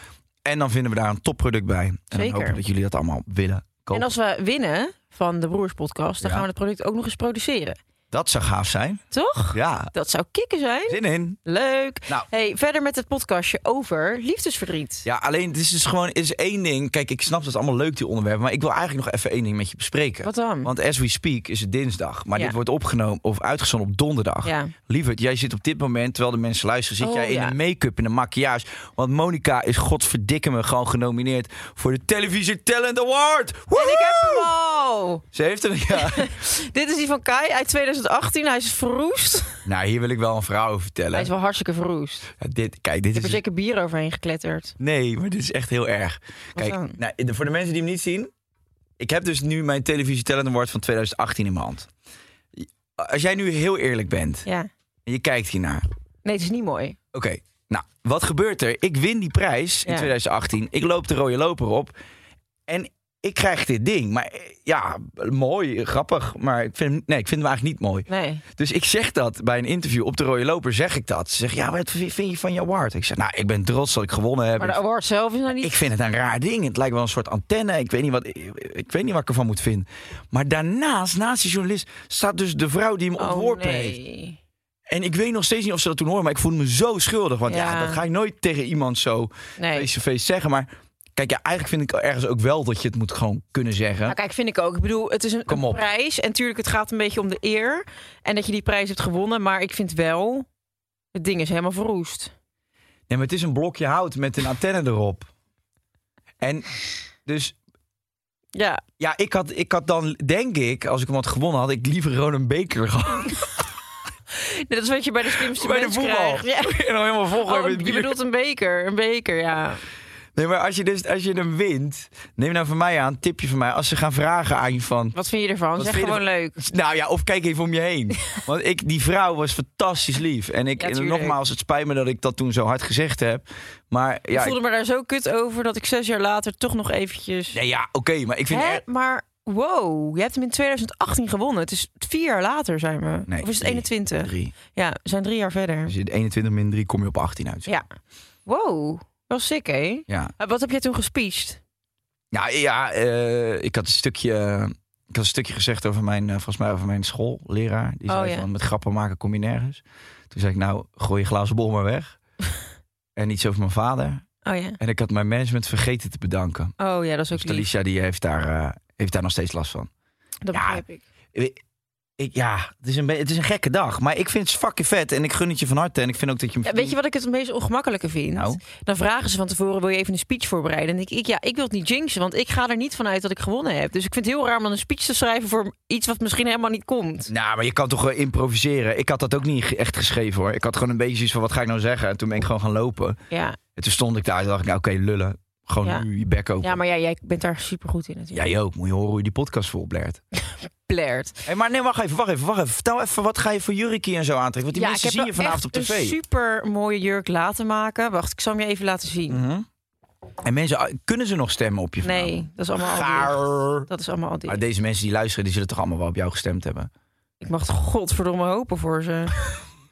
[SPEAKER 4] En dan vinden we daar een topproduct bij. En dan
[SPEAKER 3] Zeker.
[SPEAKER 4] hopen we dat jullie dat allemaal willen kopen.
[SPEAKER 3] En als we winnen van de Broers Podcast, dan
[SPEAKER 4] Ja.
[SPEAKER 3] gaan we het product ook nog eens produceren.
[SPEAKER 4] Dat zou gaaf zijn.
[SPEAKER 3] Toch?
[SPEAKER 4] Ja,
[SPEAKER 3] Dat zou kicken zijn.
[SPEAKER 4] zin in.
[SPEAKER 3] Leuk.
[SPEAKER 4] Nou.
[SPEAKER 3] Hey, verder met het podcastje over liefdesverdriet.
[SPEAKER 4] Ja, alleen het is dus gewoon het is één ding. Kijk, ik snap dat het allemaal leuk die onderwerpen, maar ik wil eigenlijk nog even één ding met je bespreken.
[SPEAKER 3] Wat dan?
[SPEAKER 4] Want as we speak is het dinsdag, maar
[SPEAKER 3] Ja.
[SPEAKER 4] dit wordt opgenomen of uitgezonden op donderdag.
[SPEAKER 3] Ja.
[SPEAKER 4] Lieverd, jij zit op dit moment, terwijl de mensen luisteren, zit
[SPEAKER 3] Oh,
[SPEAKER 4] jij in
[SPEAKER 3] ja.
[SPEAKER 4] een make-up, in een maquillage. Want Monica is godverdikke me gewoon genomineerd voor de Televisie Talent Award.
[SPEAKER 3] En ik heb hem
[SPEAKER 4] Woehoe!
[SPEAKER 3] al.
[SPEAKER 4] Ze heeft hem, ja.
[SPEAKER 3] Dit is die van Kai uit 2018. Hij is verroest.
[SPEAKER 4] nou, hier wil ik wel een verhaal over vertellen.
[SPEAKER 3] Hij is wel hartstikke verroest. Ik
[SPEAKER 4] Ja, dit, kijk, dit
[SPEAKER 3] heb er
[SPEAKER 4] is...
[SPEAKER 3] zeker bier overheen gekletterd.
[SPEAKER 4] Nee, maar dit is echt heel erg. Kijk,
[SPEAKER 3] dan?
[SPEAKER 4] nou, de- voor de mensen die hem niet zien. Ik heb dus nu mijn televisie Talent Award van 2018 in mijn hand. Als jij nu heel eerlijk bent
[SPEAKER 3] Ja.
[SPEAKER 4] en je kijkt hiernaar. Oké,
[SPEAKER 3] Nee, het is niet mooi.
[SPEAKER 4] nou, wat gebeurt er? Ik win die prijs in
[SPEAKER 3] Ja.
[SPEAKER 4] 2018. Ik loop de rode loper op. En ik krijg dit ding. Maar eh, ja, mooi, grappig. Maar ik vind hem, nee, ik vind hem eigenlijk niet mooi.
[SPEAKER 3] Nee.
[SPEAKER 4] Dus ik zeg dat bij een interview op de rode loper. Zeg ik dat. Ze zegt, ja, wat vind je van je award? Ik zeg, nou, ik ben trots dat ik gewonnen heb.
[SPEAKER 3] Maar
[SPEAKER 4] Ik
[SPEAKER 3] de award zelf is nou niet...
[SPEAKER 4] ik vind het een raar ding. Het lijkt wel een soort antenne. Ik weet niet wat ik, ik weet niet wat ik ervan moet vinden. Maar daarnaast, naast die journalist, staat dus de vrouw die hem
[SPEAKER 3] Oh,
[SPEAKER 4] ontworpen heeft. En ik weet nog steeds niet of ze dat toen hoorde, maar ik voel me zo schuldig. Want ja,
[SPEAKER 3] Ja.
[SPEAKER 4] dat ga ik nooit tegen iemand zo
[SPEAKER 3] Nee.
[SPEAKER 4] face-to-face zeggen. Maar kijk, ja, eigenlijk vind ik ergens ook wel dat je het moet gewoon kunnen zeggen.
[SPEAKER 3] Nou, kijk, vind ik ook. Ik bedoel, het is een,
[SPEAKER 4] Kom
[SPEAKER 3] een
[SPEAKER 4] op.
[SPEAKER 3] prijs. En tuurlijk, het gaat een beetje om de eer. En dat je die prijs hebt gewonnen. Maar ik vind wel, het ding is helemaal verroest.
[SPEAKER 4] Nee, maar het is een blokje hout met een antenne erop. En dus
[SPEAKER 3] Ja,
[SPEAKER 4] ja, ik had, ik had dan, denk ik, als ik hem had gewonnen, had ik liever gewoon een beker gehad.
[SPEAKER 3] dat is wat je bij de slimste
[SPEAKER 4] Bij de
[SPEAKER 3] mens
[SPEAKER 4] voetbal.
[SPEAKER 3] krijgt. Ja.
[SPEAKER 4] En dan helemaal volgen
[SPEAKER 3] Oh, een- je bedoelt een beker. Een beker, ja.
[SPEAKER 4] Nee, maar als je, dus, als je hem wint, neem nou van mij aan, tipje van mij. Als ze gaan vragen aan je van...
[SPEAKER 3] Wat vind je ervan?
[SPEAKER 4] Wat
[SPEAKER 3] zeg
[SPEAKER 4] vind je
[SPEAKER 3] gewoon leuk.
[SPEAKER 4] Nou ja, of kijk even om je heen. Want ik, die vrouw was fantastisch lief. En ik,
[SPEAKER 3] Ja,
[SPEAKER 4] en
[SPEAKER 3] tuurlijk.
[SPEAKER 4] nogmaals, het spijt me dat ik dat toen zo hard gezegd heb. Maar
[SPEAKER 3] ik
[SPEAKER 4] ja,
[SPEAKER 3] voelde me daar zo kut over dat ik zes jaar later toch nog eventjes...
[SPEAKER 4] ik- nee, ja oké, maar ik vind...
[SPEAKER 3] Hè?
[SPEAKER 4] echt-
[SPEAKER 3] Maar wow, je hebt hem in 2018 gewonnen. Het is vier jaar later zijn we.
[SPEAKER 4] Nee,
[SPEAKER 3] of is het
[SPEAKER 4] drie.
[SPEAKER 3] 21?
[SPEAKER 4] Drie.
[SPEAKER 3] Ja, we zijn drie jaar verder.
[SPEAKER 4] Dus in 21 min 3 kom je op 18 uit.
[SPEAKER 3] Ja. Wow, wel sick hè?
[SPEAKER 4] Ja,
[SPEAKER 3] Eh, Wat heb jij toen gespeeched?
[SPEAKER 4] ja, ja eh, ik, had een stukje, ik had een stukje gezegd over mijn, eh, volgens mij over mijn schoolleraar. Die
[SPEAKER 3] Oh,
[SPEAKER 4] zei
[SPEAKER 3] ja.
[SPEAKER 4] van, met grappen maken kom je nergens. Toen zei ik, nou, gooi je glazen bol maar weg. en iets over mijn vader.
[SPEAKER 3] Oh ja.
[SPEAKER 4] En ik had mijn management vergeten te bedanken.
[SPEAKER 3] Oh ja, dat is ook lief.
[SPEAKER 4] Dus Talisha die heeft, daar, eh, heeft daar nog steeds last van.
[SPEAKER 3] Dat
[SPEAKER 4] Ja.
[SPEAKER 3] begrijp ik.
[SPEAKER 4] Ik, ja, het is, een, be- het is een gekke dag. Maar ik vind het fucking vet. En ik gun het je van harte. En ik vind ook dat je hem
[SPEAKER 3] Ja, weet je wat ik het meest ongemakkelijke vind?
[SPEAKER 4] Nou?
[SPEAKER 3] Dan vragen ze van tevoren, wil je even een speech voorbereiden? En denk ik, ja, ik wil het niet jinxen, want ik ga er niet vanuit dat ik gewonnen heb. Dus ik vind het heel raar om dan een speech te schrijven voor iets wat misschien helemaal niet komt.
[SPEAKER 4] Nou, maar je kan toch wel improviseren. Ik had dat ook niet ge- echt geschreven hoor. Ik had gewoon een beetje zoiets van, wat ga ik nou zeggen? En toen ben ik gewoon gaan lopen.
[SPEAKER 3] Ja,
[SPEAKER 4] En toen stond ik daar en dacht ik, nou oké, lullen. Gewoon
[SPEAKER 3] Ja.
[SPEAKER 4] nu je bek open.
[SPEAKER 3] ja maar ja, jij bent daar super goed in natuurlijk.
[SPEAKER 4] Jij ook. Moet je horen hoe je die podcast volblert.
[SPEAKER 3] Blaert.
[SPEAKER 4] Hey, maar nee, wacht even, wacht even, wacht even. Vertel even, wat ga je voor jurkie en zo aantrekken? Want die mensen zien je vanavond
[SPEAKER 3] Ik
[SPEAKER 4] op
[SPEAKER 3] heb wel
[SPEAKER 4] tv.
[SPEAKER 3] echt een super mooie jurk laten maken. Wacht, ik zal hem je even laten zien.
[SPEAKER 4] Mhm. En mensen, ah, kunnen ze nog stemmen op je vanavond?
[SPEAKER 3] Nee, dat is allemaal al dicht.
[SPEAKER 4] Nou. Gaar.
[SPEAKER 3] Dat is allemaal al dicht.
[SPEAKER 4] Maar deze mensen die luisteren, die zullen toch allemaal wel op jou gestemd hebben.
[SPEAKER 3] Ik mag het godverdomme hopen voor ze.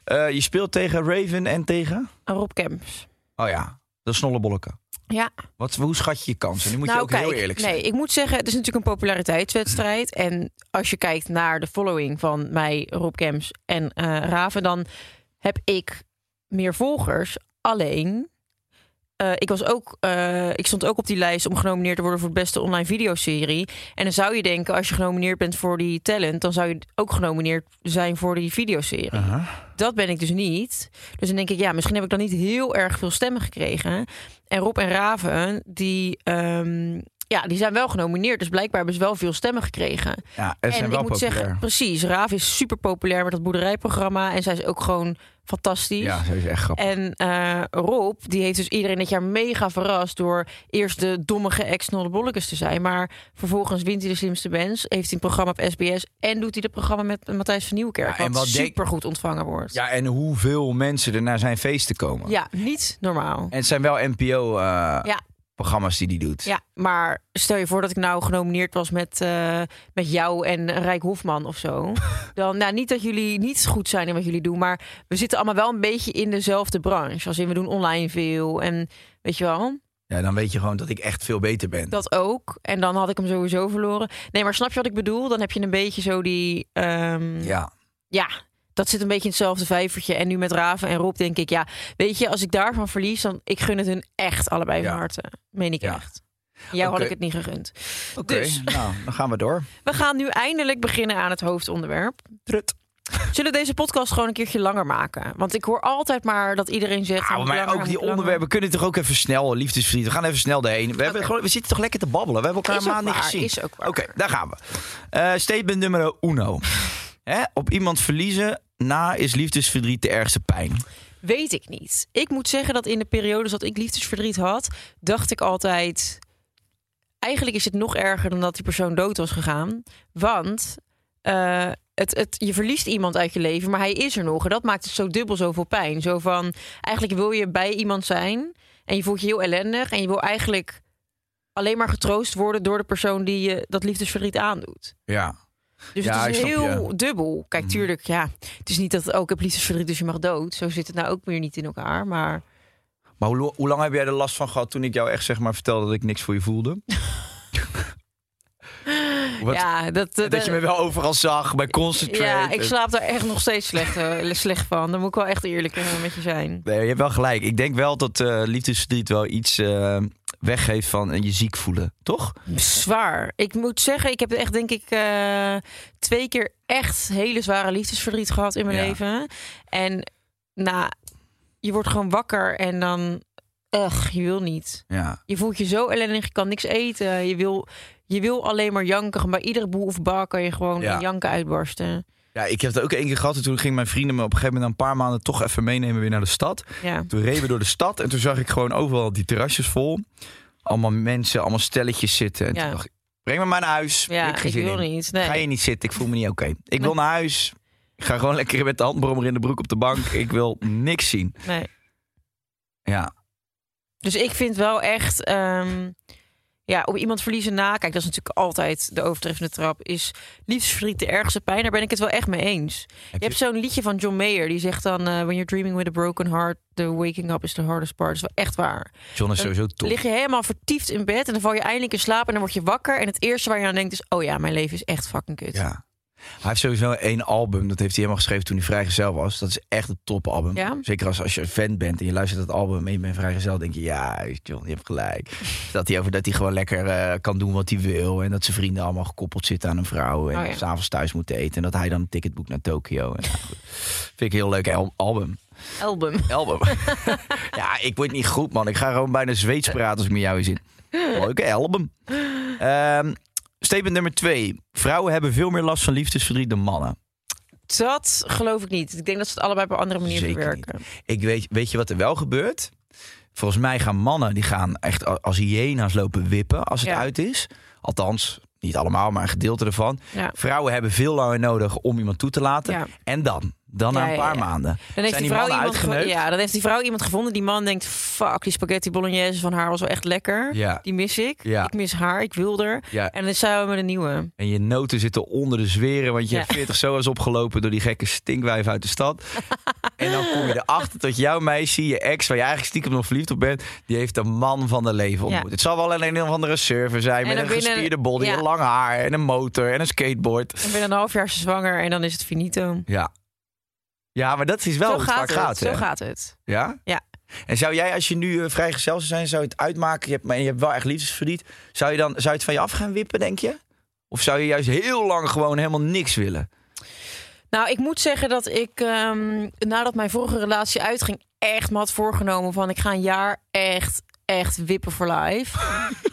[SPEAKER 4] Eh, je speelt tegen Raven en tegen?
[SPEAKER 3] En Rob Kemps.
[SPEAKER 4] Oh ja, de snollebolleken.
[SPEAKER 3] Ja,
[SPEAKER 4] Wat, hoe schat je je kansen? Nu moet je ook heel eerlijk zijn.
[SPEAKER 3] Nou, Nee, ik moet zeggen, het is natuurlijk een populariteitswedstrijd. En als je kijkt naar de following van mij, Rob Kemps en eh, Raven, dan heb ik meer volgers. Alleen, eh, ik, was ook, eh, ik stond ook op die lijst om genomineerd te worden voor de beste online videoserie. En dan zou je denken, als je genomineerd bent voor die talent, dan zou je ook genomineerd zijn voor die videoserie.
[SPEAKER 4] Aha.
[SPEAKER 3] Dat ben ik dus niet. Dus dan denk ik, ja, misschien heb ik dan niet heel erg veel stemmen gekregen. En Rob en Raven, die ehm, ja, die zijn wel genomineerd. Dus blijkbaar hebben ze wel veel stemmen gekregen.
[SPEAKER 4] Ja, en ze zijn
[SPEAKER 3] ik
[SPEAKER 4] wel
[SPEAKER 3] moet
[SPEAKER 4] populair.
[SPEAKER 3] zeggen, precies, Raaf is super populair met dat boerderijprogramma. En zij is ook gewoon fantastisch.
[SPEAKER 4] ja, ze is echt grappig.
[SPEAKER 3] En eh, Rob, die heeft dus iedereen dit jaar mega verrast... door eerst de dommige ex-Nollebollekes te zijn. Maar vervolgens wint hij de slimste bands. Heeft hij een programma op SBS. En doet hij het programma met Matthijs van Nieuwkerk.
[SPEAKER 4] Ja, en
[SPEAKER 3] wat,
[SPEAKER 4] wat denk-
[SPEAKER 3] super goed ontvangen wordt.
[SPEAKER 4] Ja, en hoeveel mensen er naar zijn feesten komen.
[SPEAKER 3] Ja, niet normaal.
[SPEAKER 4] En het zijn wel NPO-programma's
[SPEAKER 3] Ja,
[SPEAKER 4] eh, die die doet.
[SPEAKER 3] ja, maar stel je voor dat ik nou genomineerd was met, eh, met jou en Rijk Hofman of zo. Dan, nou, niet dat jullie niet goed zijn in wat jullie doen, maar we zitten allemaal wel een beetje in dezelfde branche. Als in we doen online veel en weet je wel,
[SPEAKER 4] Ja, dan weet je gewoon dat ik echt veel beter ben.
[SPEAKER 3] dat ook. En dan had ik hem sowieso verloren. Nee, maar snap je wat ik bedoel? Dan heb je een beetje zo die. ehm,
[SPEAKER 4] Ja.
[SPEAKER 3] ja, dat zit een beetje in hetzelfde vijvertje. En nu met Raven en Rob denk ik, ja, weet je, als ik daarvan verlies, dan ik gun het hun echt allebei van
[SPEAKER 4] Ja.
[SPEAKER 3] harte. Meen ik
[SPEAKER 4] Ja.
[SPEAKER 3] echt. Jou had
[SPEAKER 4] Oké.
[SPEAKER 3] ik het niet gegund.
[SPEAKER 4] Oké,
[SPEAKER 3] Dus
[SPEAKER 4] nou, dan gaan we door.
[SPEAKER 3] we gaan nu eindelijk beginnen aan het hoofdonderwerp. Trut. Zullen we deze podcast gewoon een keertje langer maken? Want ik hoor altijd maar dat iedereen zegt...
[SPEAKER 4] Ah,
[SPEAKER 3] moet
[SPEAKER 4] maar
[SPEAKER 3] langer,
[SPEAKER 4] ook
[SPEAKER 3] moet
[SPEAKER 4] die
[SPEAKER 3] langer.
[SPEAKER 4] onderwerpen kunnen toch ook even snel, liefdesvriend. We gaan even snel daarheen. We, hebben gewoon, we zitten toch lekker te babbelen? We hebben elkaar
[SPEAKER 3] Is ook
[SPEAKER 4] maanden niet
[SPEAKER 3] waar,
[SPEAKER 4] gezien.
[SPEAKER 3] is ook waar.
[SPEAKER 4] Oké, daar gaan we. Eh, statement nummer uno. Hè, op iemand verliezen, na is liefdesverdriet de ergste pijn.
[SPEAKER 3] Weet ik niet. Ik moet zeggen dat in de periodes dat ik liefdesverdriet had, dacht ik altijd. Eigenlijk is het nog erger dan dat die persoon dood was gegaan. Want eh, het, het, je verliest iemand uit je leven, maar hij is er nog. En dat maakt het zo dubbel zoveel pijn. Zo van, eigenlijk wil je bij iemand zijn en je voelt je heel ellendig. En je wil eigenlijk alleen maar getroost worden door de persoon die je dat liefdesverdriet aandoet.
[SPEAKER 4] Ja.
[SPEAKER 3] Dus
[SPEAKER 4] Ja,
[SPEAKER 3] het
[SPEAKER 4] ik
[SPEAKER 3] is
[SPEAKER 4] snap
[SPEAKER 3] heel
[SPEAKER 4] je. Mhm.
[SPEAKER 3] dubbel. Kijk, tuurlijk, ja. Het is niet dat ook heb liefdesverdriet, dus je mag dood. Zo zit het nou ook weer niet in elkaar. Maar
[SPEAKER 4] Maar hoe, lo- hoe lang heb jij er last van gehad toen ik jou echt zeg maar vertelde dat ik niks voor je voelde? Wat-
[SPEAKER 3] ja, dat, eh,
[SPEAKER 4] En dat je me wel overal zag, bij Concentrate.
[SPEAKER 3] ja, ik slaap daar echt nog steeds slecht, eh, slecht van. Dan moet ik wel echt eerlijk eh, met je zijn.
[SPEAKER 4] Nee, je hebt wel gelijk. Ik denk wel dat eh liefdesverdriet wel iets eh, weggeeft van eh, je ziek voelen, toch?
[SPEAKER 3] Zwaar. Ik moet zeggen, ik heb echt denk ik eh, twee keer echt hele zware liefdesverdriet gehad in mijn
[SPEAKER 4] Ja.
[SPEAKER 3] leven. En nou, je wordt gewoon wakker en dan, ugh, je wil niet.
[SPEAKER 4] Ja.
[SPEAKER 3] Je voelt je zo ellendig, je kan niks eten. Je wil, je wil alleen maar janken. Bij iedere boel of bar kan je gewoon
[SPEAKER 4] Ja.
[SPEAKER 3] in janken uitbarsten.
[SPEAKER 4] Ja, ik heb dat ook één keer gehad. En toen gingen mijn vrienden me op een gegeven moment na een paar maanden toch even meenemen weer naar de stad.
[SPEAKER 3] Ja.
[SPEAKER 4] Toen reden we door de stad en toen zag ik gewoon overal die terrasjes vol. Allemaal mensen, allemaal stelletjes zitten. En
[SPEAKER 3] Ja.
[SPEAKER 4] toen dacht ik, breng me maar naar huis.
[SPEAKER 3] Ja,
[SPEAKER 4] ik heb geen
[SPEAKER 3] ik
[SPEAKER 4] zin
[SPEAKER 3] wil
[SPEAKER 4] in.
[SPEAKER 3] niet, nee.
[SPEAKER 4] Ga je niet zitten, ik voel me niet oké. Ik wil naar huis. Ik ga gewoon lekker met de handbrommer in de broek op de bank. ik wil niks zien.
[SPEAKER 3] Nee.
[SPEAKER 4] Ja,
[SPEAKER 3] Dus ik vind wel echt. ehm, ja, op iemand verliezen na. Kijk, dat is natuurlijk altijd de overtreffende trap. Is liefdesverdriet de ergste pijn? Daar ben ik het wel echt mee eens. Je hebt zo'n liedje van John Mayer. Die zegt dan... eh, When you're dreaming with a broken heart... The waking up is the hardest part. Dat is wel echt waar.
[SPEAKER 4] John is sowieso top.
[SPEAKER 3] Lig je helemaal vertiefd in bed... en dan val je eindelijk in slaap... en dan word je wakker... en het eerste waar je aan denkt is... oh ja, mijn leven is echt fucking kut.
[SPEAKER 4] Ja. Hij heeft sowieso één album, dat heeft hij helemaal geschreven toen hij vrijgezel was. Dat is echt een topalbum.
[SPEAKER 3] Ja?
[SPEAKER 4] Zeker als, als je een fan bent en je luistert dat album en je bent vrijgezel, denk je, ja, John, je hebt gelijk. dat hij over dat hij gewoon lekker eh, kan doen wat hij wil en dat zijn vrienden allemaal gekoppeld zitten aan een vrouw en
[SPEAKER 3] Oh ja.
[SPEAKER 4] s'avonds thuis moeten eten en dat hij dan een ticket boekt naar Tokio. En, nou, goed. Vind ik een heel leuk al- album.
[SPEAKER 3] Album.
[SPEAKER 4] Album. ja, ik word niet goed, man. Ik ga gewoon bijna Zweeds praten als ik met jou zit. Leuke album. Ehm, statement nummer twee. Vrouwen hebben veel meer last van liefdesverdriet dan mannen.
[SPEAKER 3] Dat geloof ik niet. Ik denk dat ze het allebei op een andere manier
[SPEAKER 4] Zeker
[SPEAKER 3] verwerken.
[SPEAKER 4] Ik weet, weet je wat er wel gebeurt? Volgens mij gaan mannen, die gaan echt a- als hyena's lopen wippen als het
[SPEAKER 3] Ja.
[SPEAKER 4] uit is. Althans, niet allemaal, maar een gedeelte ervan.
[SPEAKER 3] Ja.
[SPEAKER 4] Vrouwen hebben veel langer nodig om iemand toe te laten.
[SPEAKER 3] Ja.
[SPEAKER 4] En dan? Dan
[SPEAKER 3] Ja,
[SPEAKER 4] na een
[SPEAKER 3] ja,
[SPEAKER 4] paar
[SPEAKER 3] ja.
[SPEAKER 4] maanden.
[SPEAKER 3] Dan heeft
[SPEAKER 4] Zijn
[SPEAKER 3] die
[SPEAKER 4] die
[SPEAKER 3] vrouw
[SPEAKER 4] mannen
[SPEAKER 3] iemand gevo-
[SPEAKER 4] uitgeneukt?
[SPEAKER 3] ja, dan heeft die vrouw iemand gevonden. Die man denkt, fuck, die spaghetti bolognese van haar was wel echt lekker.
[SPEAKER 4] Ja.
[SPEAKER 3] Die mis ik.
[SPEAKER 4] Ja.
[SPEAKER 3] Ik mis haar, ik wil er.
[SPEAKER 4] Ja.
[SPEAKER 3] En dan zijn we met een nieuwe.
[SPEAKER 4] En je noten zitten onder de zweren, want je
[SPEAKER 3] Ja.
[SPEAKER 4] hebt 40 SOA's opgelopen door die gekke stinkwijf uit de stad. en dan kom je erachter dat jouw meisje, je ex, waar je eigenlijk stiekem nog verliefd op bent, die heeft een man van de leven ontmoet.
[SPEAKER 3] Ja.
[SPEAKER 4] Het zal wel alleen een of andere server zijn
[SPEAKER 3] En
[SPEAKER 4] met
[SPEAKER 3] dan
[SPEAKER 4] een
[SPEAKER 3] binnen-
[SPEAKER 4] gespierde body,
[SPEAKER 3] ja.
[SPEAKER 4] en lang haar en een motor en een skateboard.
[SPEAKER 3] En binnen een half jaar is ze zwanger en dan is het finito.
[SPEAKER 4] Ja. Ja, maar dat is wel
[SPEAKER 3] Zo
[SPEAKER 4] hoe het
[SPEAKER 3] gaat
[SPEAKER 4] vaak
[SPEAKER 3] het.
[SPEAKER 4] gaat.
[SPEAKER 3] Zo
[SPEAKER 4] hè?
[SPEAKER 3] gaat het.
[SPEAKER 4] Ja?
[SPEAKER 3] Ja.
[SPEAKER 4] En zou jij, als je nu eh, vrijgezel zou zijn, zou je het uitmaken, je hebt, maar je hebt wel echt liefdesverdriet, zou je, dan, zou je het van je af gaan wippen, denk je? Of zou je juist heel lang gewoon helemaal niks willen?
[SPEAKER 3] Nou, ik moet zeggen dat ik, ehm, nadat mijn vorige relatie uitging, echt me had voorgenomen van ik ga een jaar echt echt wippen voor life.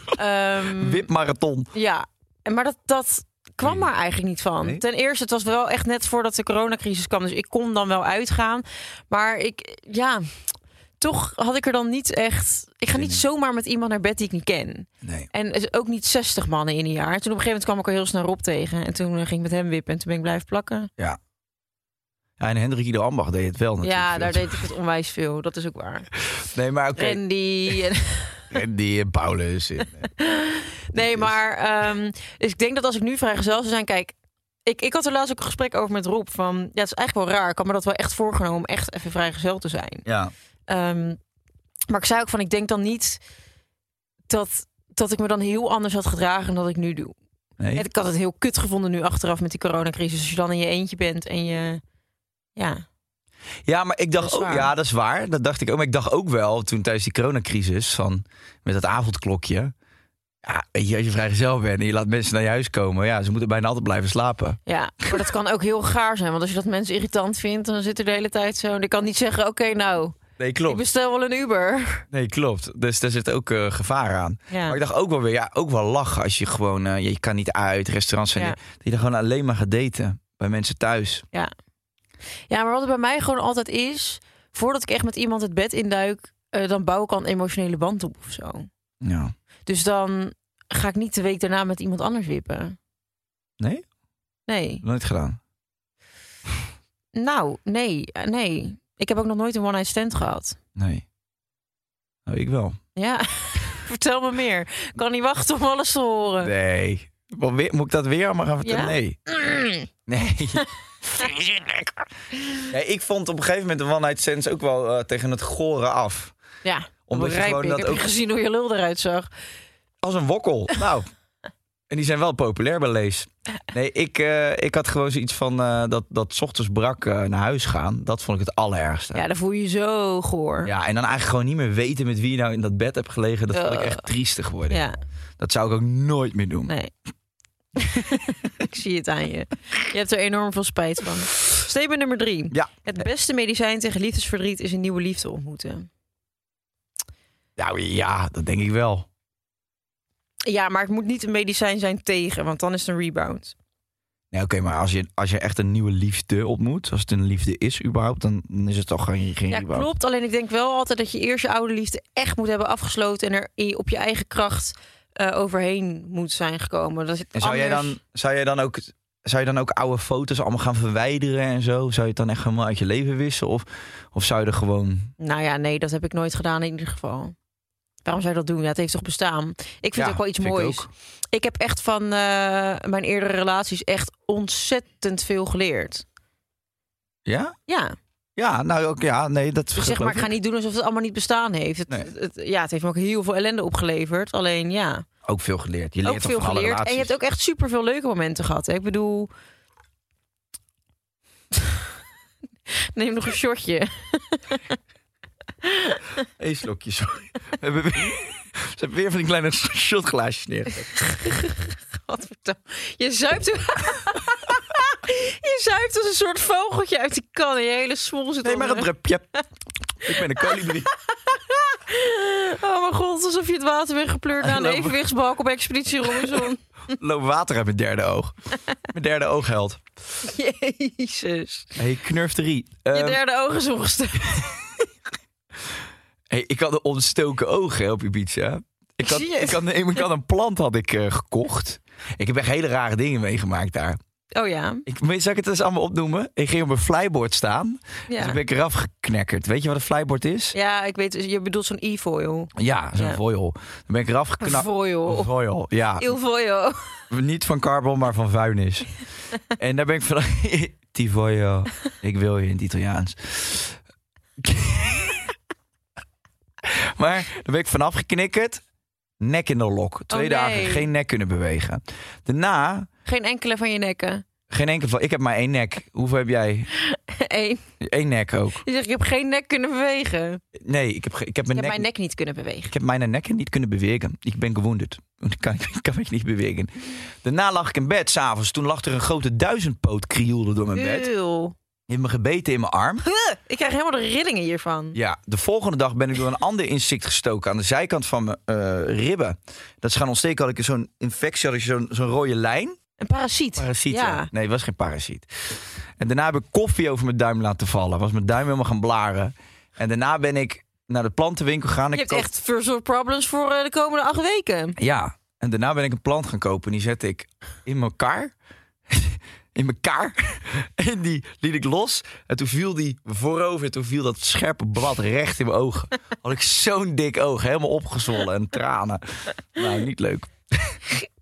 [SPEAKER 3] Ehm,
[SPEAKER 4] Wipmarathon.
[SPEAKER 3] Ja, en maar dat, dat kwam maar eigenlijk niet van.
[SPEAKER 4] Nee?
[SPEAKER 3] Ten eerste, het was wel echt net voordat de coronacrisis kwam. Dus ik kon dan wel uitgaan. Maar ik, ja, toch had ik er dan niet echt... Ik ga niet zomaar met iemand naar bed die ik niet ken.
[SPEAKER 4] Nee.
[SPEAKER 3] En is ook niet 60 mannen in een jaar. Toen op een gegeven moment kwam ik er heel snel Rob tegen. En toen eh, ging ik met hem wippen en toen ben ik blijven plakken.
[SPEAKER 4] Ja. ja en Hendrik de Ambach deed het wel natuurlijk.
[SPEAKER 3] ja, daar
[SPEAKER 4] veel.
[SPEAKER 3] deed ik het onwijs veel. Dat is ook waar.
[SPEAKER 4] Nee, maar oké.
[SPEAKER 3] En die...
[SPEAKER 4] En die eh, Paulus. en, eh,
[SPEAKER 3] Nee, maar ehm, dus ik denk dat als ik nu vrijgezel zou zijn, kijk, ik, ik had er laatst ook een gesprek over met Rob van, ja, het is eigenlijk wel raar. Ik had me dat wel echt voorgenomen om echt even vrijgezel te zijn.
[SPEAKER 4] ja.
[SPEAKER 3] Ehm, maar ik zei ook van, ik denk dan niet dat dat ik me dan heel anders had gedragen dan dat ik nu doe.
[SPEAKER 4] Nee.
[SPEAKER 3] En ik had het heel kut gevonden nu achteraf met die coronacrisis. Als je dan in je eentje bent en je, ja,
[SPEAKER 4] Ja, maar ik dacht
[SPEAKER 3] Dat is
[SPEAKER 4] ook,
[SPEAKER 3] waar.
[SPEAKER 4] ja, dat is waar. Dat dacht ik ook. Maar ik dacht ook wel toen tijdens die coronacrisis van met dat avondklokje. Ja, weet je, als je vrijgezel bent en je laat mensen naar je huis komen, ja, ze moeten bijna altijd blijven slapen.
[SPEAKER 3] Ja, maar dat kan ook heel gaar zijn. Want als je dat mensen irritant vindt, dan zit er de hele tijd zo. En ik kan niet zeggen, oké, nou,
[SPEAKER 4] Nee,
[SPEAKER 3] ik
[SPEAKER 4] klopt.
[SPEAKER 3] bestel wel een Uber.
[SPEAKER 4] Nee, klopt. Dus daar zit ook eh, gevaar aan.
[SPEAKER 3] Ja.
[SPEAKER 4] Maar ik dacht ook wel weer, ja, ook wel lachen als je gewoon, eh, je kan niet uit, restaurants zijn.
[SPEAKER 3] Ja.
[SPEAKER 4] niet- Dat je dan gewoon alleen maar gaat daten bij mensen thuis.
[SPEAKER 3] Ja. Ja, maar wat het bij mij gewoon altijd is, voordat ik echt met iemand het bed induik, eh, dan bouw ik al een emotionele band op of zo.
[SPEAKER 4] Ja.
[SPEAKER 3] Dus dan ga ik niet de week daarna met iemand anders wippen.
[SPEAKER 4] Nee?
[SPEAKER 3] Nee.
[SPEAKER 4] Nooit gedaan.
[SPEAKER 3] Nou, nee, eh, nee. Ik heb ook nog nooit een one-night stand gehad.
[SPEAKER 4] Nee. Nou, ik wel.
[SPEAKER 3] Ja, vertel me meer. Ik kan niet wachten om alles te horen.
[SPEAKER 4] Nee. Wat weer- Moet ik dat weer allemaal gaan vertellen?
[SPEAKER 3] Oh. Ja? Mm.
[SPEAKER 4] Nee. Nee. nee. Ik vond op een gegeven moment de One Night Stands ook wel eh, tegen het goren af.
[SPEAKER 3] Ja, dat
[SPEAKER 4] Omdat je
[SPEAKER 3] begrijp
[SPEAKER 4] gewoon
[SPEAKER 3] ik.
[SPEAKER 4] dat
[SPEAKER 3] heb je
[SPEAKER 4] ook-
[SPEAKER 3] gezien hoe je lul eruit zag.
[SPEAKER 4] Als een wokkel. Nou. En die zijn wel populair bij Lees. Nee, ik, eh, ik had gewoon zoiets van eh, dat, dat 's ochtends brak eh, naar huis gaan. Dat vond ik het allerergste.
[SPEAKER 3] Ja, dan voel je je zo goor.
[SPEAKER 4] Ja, en dan eigenlijk gewoon niet meer weten met wie je nou in dat bed hebt gelegen. Dat vond ik echt triestig worden.
[SPEAKER 3] Oh. ja.
[SPEAKER 4] Dat zou ik ook nooit meer doen.
[SPEAKER 3] Nee. ik zie het aan je. Je hebt er enorm veel spijt van. Statement nummer drie.
[SPEAKER 4] Ja.
[SPEAKER 3] Het beste medicijn tegen liefdesverdriet is een nieuwe liefde ontmoeten.
[SPEAKER 4] Nou ja, dat denk ik wel.
[SPEAKER 3] Ja, maar het moet niet een medicijn zijn tegen, want dan is het een rebound.
[SPEAKER 4] Nee, oké, maar als je, als je echt een nieuwe liefde ontmoet, als het een liefde is überhaupt, dan, dan is het toch geen, geen
[SPEAKER 3] Ja,
[SPEAKER 4] überhaupt.
[SPEAKER 3] klopt. Alleen ik denk wel altijd dat je eerst je oude liefde echt moet hebben afgesloten en er i- op je eigen kracht eh, overheen moet zijn gekomen. Dat is
[SPEAKER 4] En zou jij,
[SPEAKER 3] anders-
[SPEAKER 4] dan, zou, jij dan ook, zou je dan ook oude foto's allemaal gaan verwijderen en zo? Zou je het dan echt helemaal uit je leven wissen? Of, of zou je er gewoon...
[SPEAKER 3] Nou ja, nee, dat heb ik nooit gedaan in ieder geval. Waarom zou je dat doen? Ja, het heeft toch bestaan. Ik vind
[SPEAKER 4] Ja,
[SPEAKER 3] het ook wel iets
[SPEAKER 4] vind ik
[SPEAKER 3] moois. Ik,
[SPEAKER 4] ook.
[SPEAKER 3] heb echt van eh, mijn eerdere relaties echt ontzettend veel geleerd.
[SPEAKER 4] Ja?
[SPEAKER 3] Ja,
[SPEAKER 4] Ja, nou ook, ja, nee, dat
[SPEAKER 3] dus zeg maar,
[SPEAKER 4] geloof
[SPEAKER 3] ik ga niet doen alsof het allemaal niet bestaan heeft. Het,
[SPEAKER 4] Nee.
[SPEAKER 3] het- ja, het heeft me ook heel veel ellende opgeleverd. Alleen ja,
[SPEAKER 4] Ook veel geleerd. Je leert
[SPEAKER 3] ook
[SPEAKER 4] toch
[SPEAKER 3] veel
[SPEAKER 4] van alle
[SPEAKER 3] geleerd. En je
[SPEAKER 4] relaties.
[SPEAKER 3] hebt ook echt super veel leuke momenten gehad. hè. Ik bedoel. Neem nog een shotje.
[SPEAKER 4] Eén slokje, sorry. We hebben weer, ze hebben weer van die kleine shotglaasjes neer.
[SPEAKER 3] Godverdomme. Je zuipt... je zuipt als een soort vogeltje uit die kan. En je hele smoel zit
[SPEAKER 4] Nee, maar
[SPEAKER 3] onder.
[SPEAKER 4] een drupje. Ik ben een kolibrie.
[SPEAKER 3] Oh mijn god, alsof je het water bent gepleurd... na een
[SPEAKER 4] Lopen.
[SPEAKER 3] evenwichtsbalk op Expeditie Robinson.
[SPEAKER 4] Loop water uit mijn derde oog. Mijn derde oog helpt.
[SPEAKER 3] Jezus.
[SPEAKER 4] Hey, Ehm, knurf 3.
[SPEAKER 3] Je derde oog is ongestuurd.
[SPEAKER 4] hey, ik had een ontstoken oog hè, op Ibiza. Ik had,
[SPEAKER 3] Zie je?
[SPEAKER 4] ik had, nee, maar ik had een plant had ik, eh, gekocht. Ik heb echt hele rare dingen meegemaakt daar.
[SPEAKER 3] Oh ja.
[SPEAKER 4] Ik, weet- zal ik het eens allemaal opnoemen? Ik ging op een flyboard staan. Dus
[SPEAKER 3] Ja,
[SPEAKER 4] ik ben ik eraf geknekkerd. Weet je wat een flyboard is?
[SPEAKER 3] ja ik weet, dus je bedoelt zo'n e-foil.
[SPEAKER 4] Ja, zo'n
[SPEAKER 3] Ja.
[SPEAKER 4] foil. Dan ben ik eraf geknapt. Een
[SPEAKER 3] Foil.
[SPEAKER 4] foil, ja.
[SPEAKER 3] Il-foil.
[SPEAKER 4] Niet van carbon, maar van vuilnis. en daar ben ik van... Tivoio, ik wil je in het Italiaans. maar daar ben ik vanaf geknikkerd. Nek in de lok. Twee
[SPEAKER 3] Oh, nee.
[SPEAKER 4] dagen geen nek kunnen bewegen. Daarna,
[SPEAKER 3] Geen enkele van je nekken.
[SPEAKER 4] geen enkel van... Ik heb maar één nek. Hoeveel heb jij?
[SPEAKER 3] Eén.
[SPEAKER 4] Eén nek ook.
[SPEAKER 3] Je zegt, ik heb geen nek kunnen bewegen. Ik
[SPEAKER 4] Nee, ik heb, ge- ik heb mijn
[SPEAKER 3] heb
[SPEAKER 4] nek...
[SPEAKER 3] Dus mijn nek niet kunnen bewegen.
[SPEAKER 4] Ik heb mijn nekken niet kunnen bewegen. Ik ben gewonderd. Ik kan, ik kan ik niet bewegen. Daarna lag ik in bed s'avonds. Toen lag er een grote duizendpoot krioelde door mijn bed.
[SPEAKER 3] Eeuw.
[SPEAKER 4] heeft me gebeten in mijn arm.
[SPEAKER 3] Huh, ik krijg helemaal de rillingen hiervan.
[SPEAKER 4] Ja, de volgende dag ben ik door een ander insect gestoken aan de zijkant van mijn eh, ribben. Dat is gaan ontsteken. Had ik zo'n infectie, had ik zo'n zo'n rode lijn.
[SPEAKER 3] Een parasiet.
[SPEAKER 4] Parasiet.
[SPEAKER 3] Ja.
[SPEAKER 4] Nee, het was geen parasiet. En daarna heb ik koffie over mijn duim laten vallen. Was mijn duim helemaal gaan blaren. En daarna ben ik naar de plantenwinkel gegaan.
[SPEAKER 3] Je
[SPEAKER 4] Ik
[SPEAKER 3] hebt
[SPEAKER 4] koop-
[SPEAKER 3] echt first world problems voor eh, de komende acht weken.
[SPEAKER 4] Ja. En daarna ben ik een plant gaan kopen. Die zette ik in elkaar. in elkaar. en die liet ik los. En toen viel die voorover. En toen viel dat scherpe blad recht in mijn ogen. Had ik zo'n dik oog. Helemaal opgezwollen. En tranen. Nou, niet leuk.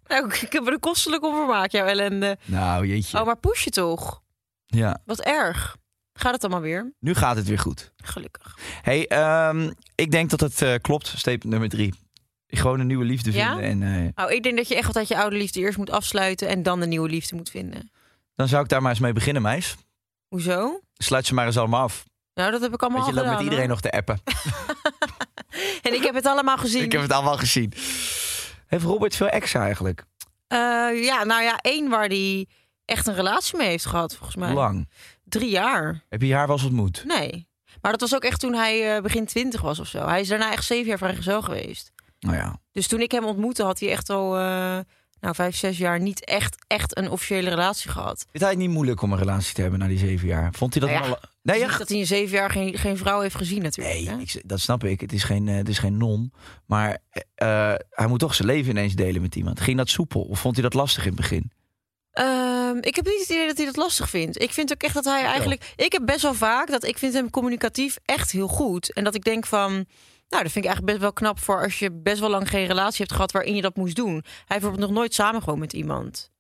[SPEAKER 3] Nou, ik heb er kostelijk om vermaakt, jouw ellende.
[SPEAKER 4] Nou,
[SPEAKER 3] Oh,
[SPEAKER 4] jeetje.
[SPEAKER 3] maar push je toch?
[SPEAKER 4] Ja,
[SPEAKER 3] Wat erg. Gaat het allemaal weer?
[SPEAKER 4] nu gaat het weer goed.
[SPEAKER 3] Gelukkig.
[SPEAKER 4] hey, ehm, ik denk dat het eh, klopt. Steep nummer drie. Gewoon een nieuwe liefde
[SPEAKER 3] Ja?
[SPEAKER 4] vinden. En eh,
[SPEAKER 3] Nou, ik denk dat je echt altijd je oude liefde eerst moet afsluiten en dan de nieuwe liefde moet vinden.
[SPEAKER 4] dan zou ik daar maar eens mee beginnen, meis.
[SPEAKER 3] Hoezo?
[SPEAKER 4] Sluit ze maar eens allemaal af.
[SPEAKER 3] Nou, dat heb ik allemaal
[SPEAKER 4] Want je
[SPEAKER 3] al
[SPEAKER 4] loopt met
[SPEAKER 3] gedaan,
[SPEAKER 4] iedereen
[SPEAKER 3] hoor.
[SPEAKER 4] nog te appen.
[SPEAKER 3] En ik heb het allemaal gezien.
[SPEAKER 4] Ik heb het allemaal gezien. Heeft Robert veel exen eigenlijk?
[SPEAKER 3] Eh, ja, nou ja, één waar die echt een relatie mee heeft gehad, volgens mij.
[SPEAKER 4] Hoe lang?
[SPEAKER 3] Drie jaar.
[SPEAKER 4] Heb je haar wel eens ontmoet?
[SPEAKER 3] Nee. Maar dat was ook echt toen hij eh, begin twintig was of zo. Hij is daarna echt zeven jaar vrijgezel geweest.
[SPEAKER 4] Nou ja.
[SPEAKER 3] Dus toen ik hem ontmoette, had hij echt al eh, nou, vijf, zes jaar niet echt, echt een officiële relatie gehad.
[SPEAKER 4] Vindt hij het niet moeilijk om een relatie te hebben na die zeven jaar? Vond hij dat
[SPEAKER 3] Nou ja,
[SPEAKER 4] wel... Nee,
[SPEAKER 3] Niet
[SPEAKER 4] ja.
[SPEAKER 3] dat hij in zeven jaar geen, geen vrouw heeft gezien natuurlijk.
[SPEAKER 4] nee
[SPEAKER 3] hè?
[SPEAKER 4] ik- dat snap ik. Het is geen, eh, het is geen non. Maar eh, eh, hij moet toch zijn leven ineens delen met iemand. Ging dat soepel? Of vond hij dat lastig in het begin?
[SPEAKER 3] Ehm, ik heb niet het idee dat hij dat lastig vindt. Ik vind ook echt dat hij eigenlijk... Ik heb best wel vaak dat ik vind hem communicatief echt heel goed. En dat ik denk van... Nou, dat vind ik eigenlijk best wel knap voor als je best wel lang geen relatie hebt gehad waarin je dat moest doen. Hij heeft bijvoorbeeld nog nooit samen gewoond met iemand.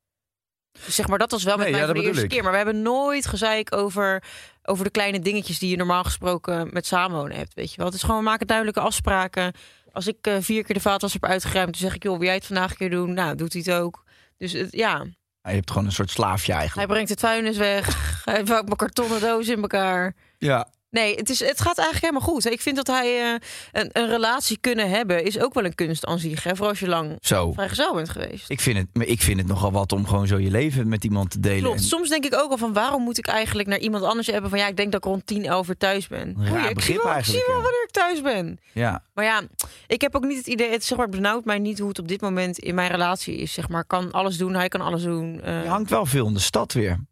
[SPEAKER 3] Dus zeg maar, dat was wel met
[SPEAKER 4] Nee,
[SPEAKER 3] mij
[SPEAKER 4] ja,
[SPEAKER 3] voor de
[SPEAKER 4] dat
[SPEAKER 3] eerste
[SPEAKER 4] bedoel ik.
[SPEAKER 3] keer. Maar we hebben nooit gezeik over, over de kleine dingetjes die je normaal gesproken met samenwonen hebt. Weet je wel. Het is gewoon, we maken duidelijke afspraken. Als ik eh, vier keer de vaatwas heb uitgeruimd, dan zeg ik, joh, wil jij het vandaag een keer doen? Nou, doet hij het ook. Dus het, ja,
[SPEAKER 4] Je hebt gewoon een soort slaafje
[SPEAKER 3] hij
[SPEAKER 4] eigenlijk.
[SPEAKER 3] brengt het vuilnis weg. Hij vouwt mijn kartonnen doos in elkaar.
[SPEAKER 4] Ja.
[SPEAKER 3] Nee, het, is, het gaat eigenlijk helemaal goed. Ik vind dat hij eh, een, een relatie kunnen hebben is ook wel een kunst aan zich. Hè? Vooral als je lang
[SPEAKER 4] Zo.
[SPEAKER 3] vrijgezel bent geweest.
[SPEAKER 4] Ik vind, het, maar ik vind het nogal wat om gewoon zo je leven met iemand te delen.
[SPEAKER 3] Klopt.
[SPEAKER 4] En-
[SPEAKER 3] Soms denk ik ook al van waarom moet ik eigenlijk naar iemand anders hebben van ja, ik denk dat ik rond 10, 11 uur thuis ben.
[SPEAKER 4] raar
[SPEAKER 3] Oei, ik
[SPEAKER 4] begrip
[SPEAKER 3] zie wel, ik zie
[SPEAKER 4] eigenlijk,
[SPEAKER 3] wel
[SPEAKER 4] ja.
[SPEAKER 3] wanneer ik thuis ben.
[SPEAKER 4] Ja.
[SPEAKER 3] Maar ja, ik heb ook niet het idee, het, zeg maar, het benauwt mij niet hoe het op dit moment in mijn relatie is. Zeg maar, Ik kan alles doen, hij kan alles doen. eh,
[SPEAKER 4] Je hangt wel veel in de stad weer.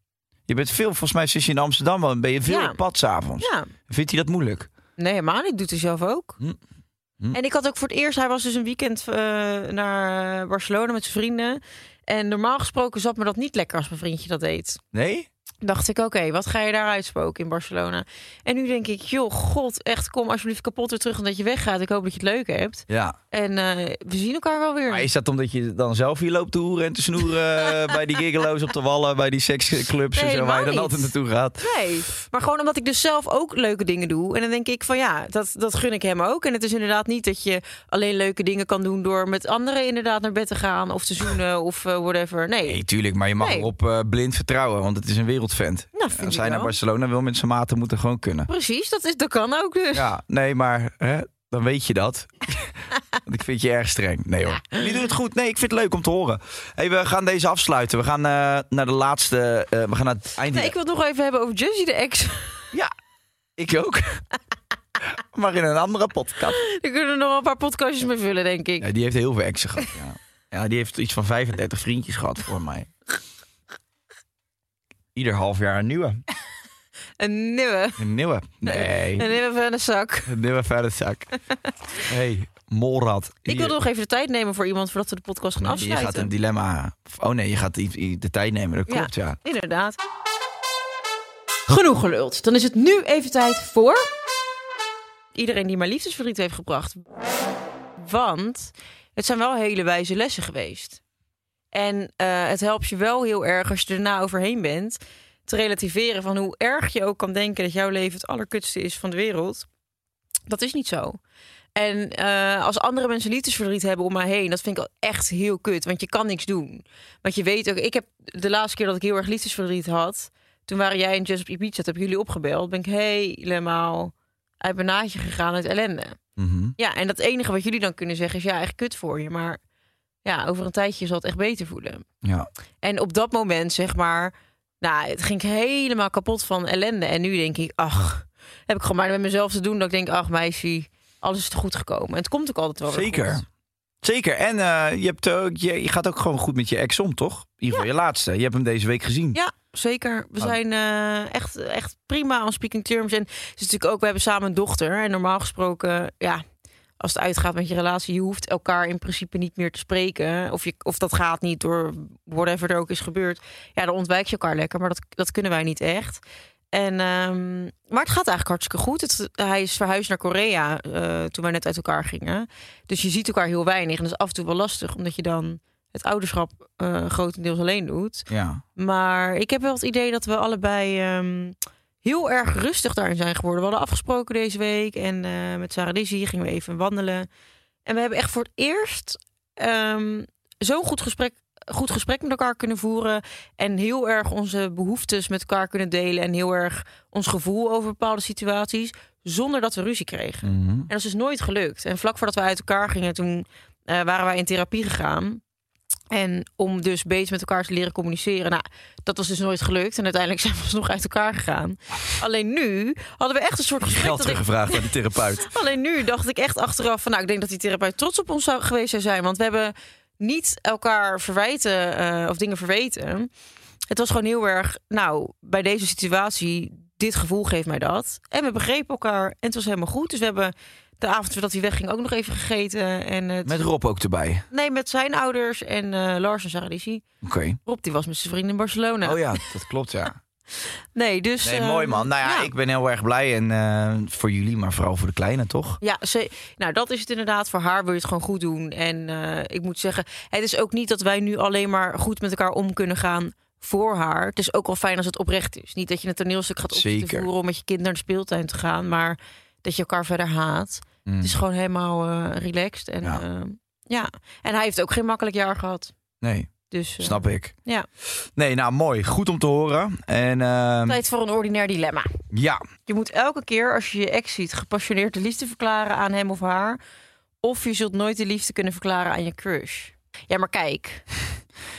[SPEAKER 4] Je bent veel, volgens mij sinds je in Amsterdam woont, ben je veel
[SPEAKER 3] Ja.
[SPEAKER 4] op pad s'avonds.
[SPEAKER 3] ja.
[SPEAKER 4] Vindt hij dat moeilijk?
[SPEAKER 3] Nee, helemaal niet. Doet hij zelf ook.
[SPEAKER 4] Hm. Hm.
[SPEAKER 3] En ik had ook voor het eerst... Hij was dus een weekend eh, naar Barcelona met zijn vrienden. En normaal gesproken zat me dat niet lekker als mijn vriendje dat deed.
[SPEAKER 4] Nee?
[SPEAKER 3] Dacht ik, oké, wat ga je daar uitspoken in Barcelona? En nu denk ik, joh, god, echt, kom alsjeblieft kapot weer terug... en dat je weggaat. Ik hoop dat je het leuk hebt.
[SPEAKER 4] Ja.
[SPEAKER 3] En eh, we zien elkaar wel weer.
[SPEAKER 4] Maar is dat omdat je dan zelf hier loopt te hoeren en te snoeren eh, bij die gigolo's op de wallen, bij die seksclubs
[SPEAKER 3] Nee,
[SPEAKER 4] en zo, waar je dan
[SPEAKER 3] helemaal
[SPEAKER 4] altijd
[SPEAKER 3] niet.
[SPEAKER 4] naartoe gaat?
[SPEAKER 3] Nee, maar gewoon omdat ik dus zelf ook leuke dingen doe. En dan denk ik van ja, dat, dat gun ik hem ook. En het is inderdaad niet dat je alleen leuke dingen kan doen... door met anderen inderdaad naar bed te gaan of te zoenen of eh, whatever. Nee,
[SPEAKER 4] Nee, tuurlijk, maar je mag
[SPEAKER 3] Nee.
[SPEAKER 4] erop eh, blind vertrouwen, want het is een wereldvent.
[SPEAKER 3] Nou, vind
[SPEAKER 4] Als
[SPEAKER 3] ik
[SPEAKER 4] hij naar
[SPEAKER 3] wel.
[SPEAKER 4] Barcelona wil met zijn maten, moet het gewoon kunnen.
[SPEAKER 3] Precies, dat, is, dat kan ook dus.
[SPEAKER 4] Ja, nee, maar hè, dan weet je dat. Want ik vind je erg streng. Nee hoor. Jullie doen het goed. Nee, ik vind het leuk om te horen. Hey, we gaan deze afsluiten. We gaan eh, naar de laatste. eh, we gaan naar het eind.
[SPEAKER 3] Nee, ik wil het nog even hebben over Jussie de ex.
[SPEAKER 4] Ja, ik ook. maar in een andere podcast.
[SPEAKER 3] Daar kunnen we nog wel een paar podcastjes mee vullen, denk ik.
[SPEAKER 4] Ja, die heeft heel veel exen gehad. Ja. ja, die heeft iets van 35 vriendjes gehad voor mij. Ieder half jaar een nieuwe.
[SPEAKER 3] Een nieuwe.
[SPEAKER 4] Een nieuwe. Nee.
[SPEAKER 3] Een nieuwe van de zak.
[SPEAKER 4] Een nieuwe verder zak. hey, molrad.
[SPEAKER 3] Ik
[SPEAKER 4] Hier.
[SPEAKER 3] wilde nog even de tijd nemen voor iemand voordat we de podcast gaan
[SPEAKER 4] Nee, je
[SPEAKER 3] afsluiten.
[SPEAKER 4] gaat een dilemma. Oh nee, je gaat i- i- de tijd nemen. Dat klopt, ja.
[SPEAKER 3] Inderdaad. Genoeg geluld. Dan is het nu even tijd voor... Iedereen die mij liefdesverdriet heeft gebracht. Want het zijn wel hele wijze lessen geweest. En eh, het helpt je wel heel erg als je erna overheen bent... te relativeren van hoe erg je ook kan denken... dat jouw leven het allerkutste is van de wereld. Dat is niet zo. En eh, als andere mensen liefdesverdriet hebben om mij heen... dat vind ik al echt heel kut, want je kan niks doen. Want je weet ook, ik heb de laatste keer dat ik heel erg liefdesverdriet had. Toen waren jij en Jess op Ibiza, toen heb ik jullie opgebeld. Ben ik helemaal uit mijn naadje gegaan uit ellende.
[SPEAKER 4] Mhm.
[SPEAKER 3] Ja, en dat enige wat jullie dan kunnen zeggen is ja, echt kut voor je. Maar ja, over een tijdje zal het echt beter voelen.
[SPEAKER 4] ja.
[SPEAKER 3] En op dat moment, zeg maar, Nou, het ging ik helemaal kapot van ellende. En nu denk ik, ach, heb ik gewoon maar met mezelf te doen. Dat ik denk, ach meisje, alles is te goed gekomen. En het komt ook altijd wel weer
[SPEAKER 4] Zeker.
[SPEAKER 3] goed.
[SPEAKER 4] Zeker. En eh, je, hebt, eh, je, je gaat ook gewoon goed met je ex om, toch? In ieder geval je laatste. Je hebt hem deze week gezien.
[SPEAKER 3] Ja, zeker. We
[SPEAKER 4] Oh.
[SPEAKER 3] zijn eh, echt, echt prima aan speaking terms. En het is natuurlijk ook, we hebben samen een dochter. En normaal gesproken, ja, als het uitgaat met je relatie, je hoeft elkaar in principe niet meer te spreken. Of, je, of dat gaat niet door whatever er ook is gebeurd. Ja, dan ontwijk je elkaar lekker. Maar dat, dat kunnen wij niet echt. En, ehm, maar het gaat eigenlijk hartstikke goed. Het, hij is verhuisd naar Korea eh, toen wij net uit elkaar gingen. Dus je ziet elkaar heel weinig. En dat is af en toe wel lastig, omdat je dan het ouderschap eh, grotendeels alleen doet.
[SPEAKER 4] Ja.
[SPEAKER 3] Maar ik heb wel het idee dat we allebei ehm, heel erg rustig daarin zijn geworden. We hadden afgesproken deze week en eh, met Sarah Lizzie gingen we even wandelen. En we hebben echt voor het eerst ehm, zo'n goed gesprek, goed gesprek met elkaar kunnen voeren. En heel erg onze behoeftes met elkaar kunnen delen. En heel erg ons gevoel over bepaalde situaties. Zonder dat we ruzie kregen.
[SPEAKER 4] Mhm.
[SPEAKER 3] En dat is dus nooit gelukt. En vlak voordat we uit elkaar gingen, toen eh, waren wij in therapie gegaan. En om dus beter met elkaar te leren communiceren. Nou, dat was dus nooit gelukt. En uiteindelijk zijn we alsnog uit elkaar gegaan. Alleen nu hadden we echt een soort gesprek.
[SPEAKER 4] Geld
[SPEAKER 3] dat ik-
[SPEAKER 4] teruggevraagd aan de therapeut.
[SPEAKER 3] Alleen nu dacht ik echt achteraf van... nou, ik denk dat die therapeut trots op ons zou, geweest zou zijn. Want we hebben niet elkaar verwijten eh, of dingen verweten. Het was gewoon heel erg... nou, bij deze situatie, dit gevoel geeft mij dat. En we begrepen elkaar en het was helemaal goed. Dus we hebben de avond voordat hij wegging ook nog even gegeten. En het,
[SPEAKER 4] Met Rob ook erbij.
[SPEAKER 3] Nee, met zijn ouders en eh, Lars en Sarah Lizzie.
[SPEAKER 4] Oké.
[SPEAKER 3] Rob die was met zijn vrienden in Barcelona.
[SPEAKER 4] Oh ja, dat klopt ja.
[SPEAKER 3] Nee, dus...
[SPEAKER 4] Nee,
[SPEAKER 3] eh,
[SPEAKER 4] mooi man. Nou ja,
[SPEAKER 3] ja.
[SPEAKER 4] ik ben heel erg blij. En eh, voor jullie, maar vooral voor de kleine, toch?
[SPEAKER 3] Ja, ze, nou dat is het inderdaad. Voor haar wil je het gewoon goed doen. En eh, ik moet zeggen, het is ook niet dat wij nu alleen maar goed met elkaar om kunnen gaan voor haar. Het is ook wel fijn als het oprecht is. Niet dat je een toneelstuk gaat op te
[SPEAKER 4] Zeker.
[SPEAKER 3] voeren om met je kind naar de speeltuin te gaan, maar dat je elkaar verder haat.
[SPEAKER 4] Mm.
[SPEAKER 3] Het is gewoon helemaal eh, relaxed. En
[SPEAKER 4] Ja.
[SPEAKER 3] ja. ja, en hij heeft ook geen makkelijk jaar gehad.
[SPEAKER 4] Nee,
[SPEAKER 3] Dus eh,
[SPEAKER 4] snap ik.
[SPEAKER 3] ja,
[SPEAKER 4] Nee, nou mooi. Goed om te horen. En ehm,
[SPEAKER 3] tijd voor een ordinair dilemma.
[SPEAKER 4] ja,
[SPEAKER 3] Je moet elke keer als je je ex ziet gepassioneerd de liefde verklaren aan hem of haar. Of je zult nooit de liefde kunnen verklaren aan je crush. Ja, maar kijk.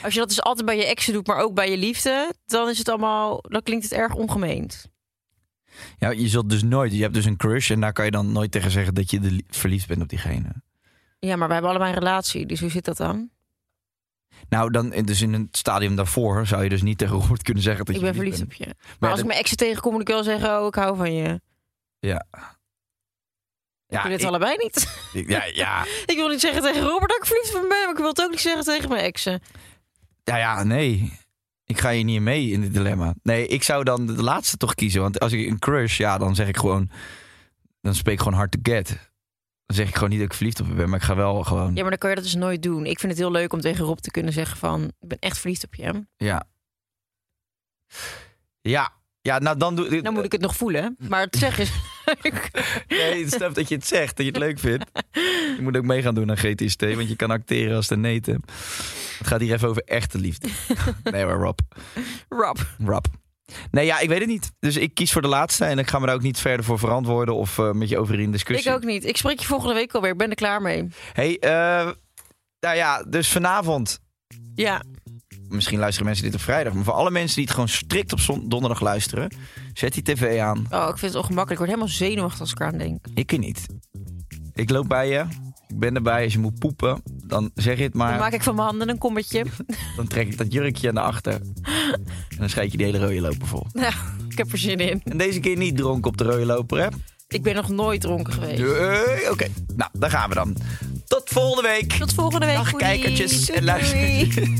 [SPEAKER 3] Als je dat dus altijd bij je exen doet, maar ook bij je liefde, dan is het allemaal, dan klinkt het erg ongemeend.
[SPEAKER 4] ja, je zult dus nooit... Je hebt dus een crush en daar kan je dan nooit tegen zeggen dat je de li- verliefd bent op diegene.
[SPEAKER 3] Ja, maar wij hebben allebei een relatie, dus hoe zit dat dan?
[SPEAKER 4] Nou, dan, dus in het stadium daarvoor zou je dus niet tegen Robert kunnen zeggen dat
[SPEAKER 3] ik
[SPEAKER 4] je
[SPEAKER 3] ben verliefd op
[SPEAKER 4] bent.
[SPEAKER 3] je. Maar,
[SPEAKER 4] Maar
[SPEAKER 3] als ik
[SPEAKER 4] dat-
[SPEAKER 3] mijn exen tegenkom, moet ik wel zeggen, oh, ik hou van je. ik wil dit
[SPEAKER 4] ik-
[SPEAKER 3] allebei niet.
[SPEAKER 4] ik- ja, ja,
[SPEAKER 3] ik wil niet zeggen tegen Robert dat ik verliefd van hem ben, maar ik wil het ook niet zeggen tegen mijn exen.
[SPEAKER 4] ja, ja, nee. Ik ga hier niet in mee in dit dilemma. Nee, ik zou dan de laatste toch kiezen. Want als ik een crush, ja, dan zeg ik gewoon... Dan spreek ik gewoon hard to get. Dan zeg ik gewoon niet dat ik verliefd op je ben, maar ik ga wel gewoon...
[SPEAKER 3] Ja,
[SPEAKER 4] Ja,
[SPEAKER 3] maar dan kan je dat dus nooit doen. Ik vind het heel leuk om tegen Rob te kunnen zeggen van, ik ben echt verliefd op je.
[SPEAKER 4] ja. ja. nou dan doe
[SPEAKER 3] Dan moet ik het nog voelen, maar het zeggen is leuk.
[SPEAKER 4] Nee, ik snap dat je het zegt, dat je het leuk vindt. Je moet ook mee gaan doen aan GTST, want je kan acteren als de neten. Het gaat hier even over echte liefde. Nee hoor, Rob.
[SPEAKER 3] Rob.
[SPEAKER 4] Rob. Nee, ja, ik weet het niet. Dus ik kies voor de laatste en ik ga me daar ook niet verder voor verantwoorden of eh, met je over in discussie.
[SPEAKER 3] Ik ook niet. Ik spreek je volgende week alweer. Ik ben er klaar mee.
[SPEAKER 4] Hey, eh, nou ja, dus vanavond.
[SPEAKER 3] Ja,
[SPEAKER 4] Misschien luisteren mensen dit op vrijdag, maar voor alle mensen die het gewoon strikt op zon- donderdag luisteren, zet die tv aan.
[SPEAKER 3] oh, ik vind het ongemakkelijk. Ik word helemaal zenuwachtig als ik eraan denk.
[SPEAKER 4] Ik kan niet. Ik loop bij je. Ik ben erbij. Als je moet poepen, dan zeg je het maar.
[SPEAKER 3] Dan maak ik van mijn handen een kommetje.
[SPEAKER 4] Dan trek ik dat jurkje naar achter. En dan schijt je de hele rode loper vol.
[SPEAKER 3] nou, ik heb er zin in.
[SPEAKER 4] En deze keer niet dronken op de rode loper, hè?
[SPEAKER 3] Ik ben nog nooit dronken geweest.
[SPEAKER 4] Nee, Oké, nou, daar gaan we dan. Tot volgende week.
[SPEAKER 3] Tot volgende week.
[SPEAKER 4] Dag,
[SPEAKER 3] goedies.
[SPEAKER 4] kijkertjes
[SPEAKER 3] Doei, doei.
[SPEAKER 4] en luistertjes.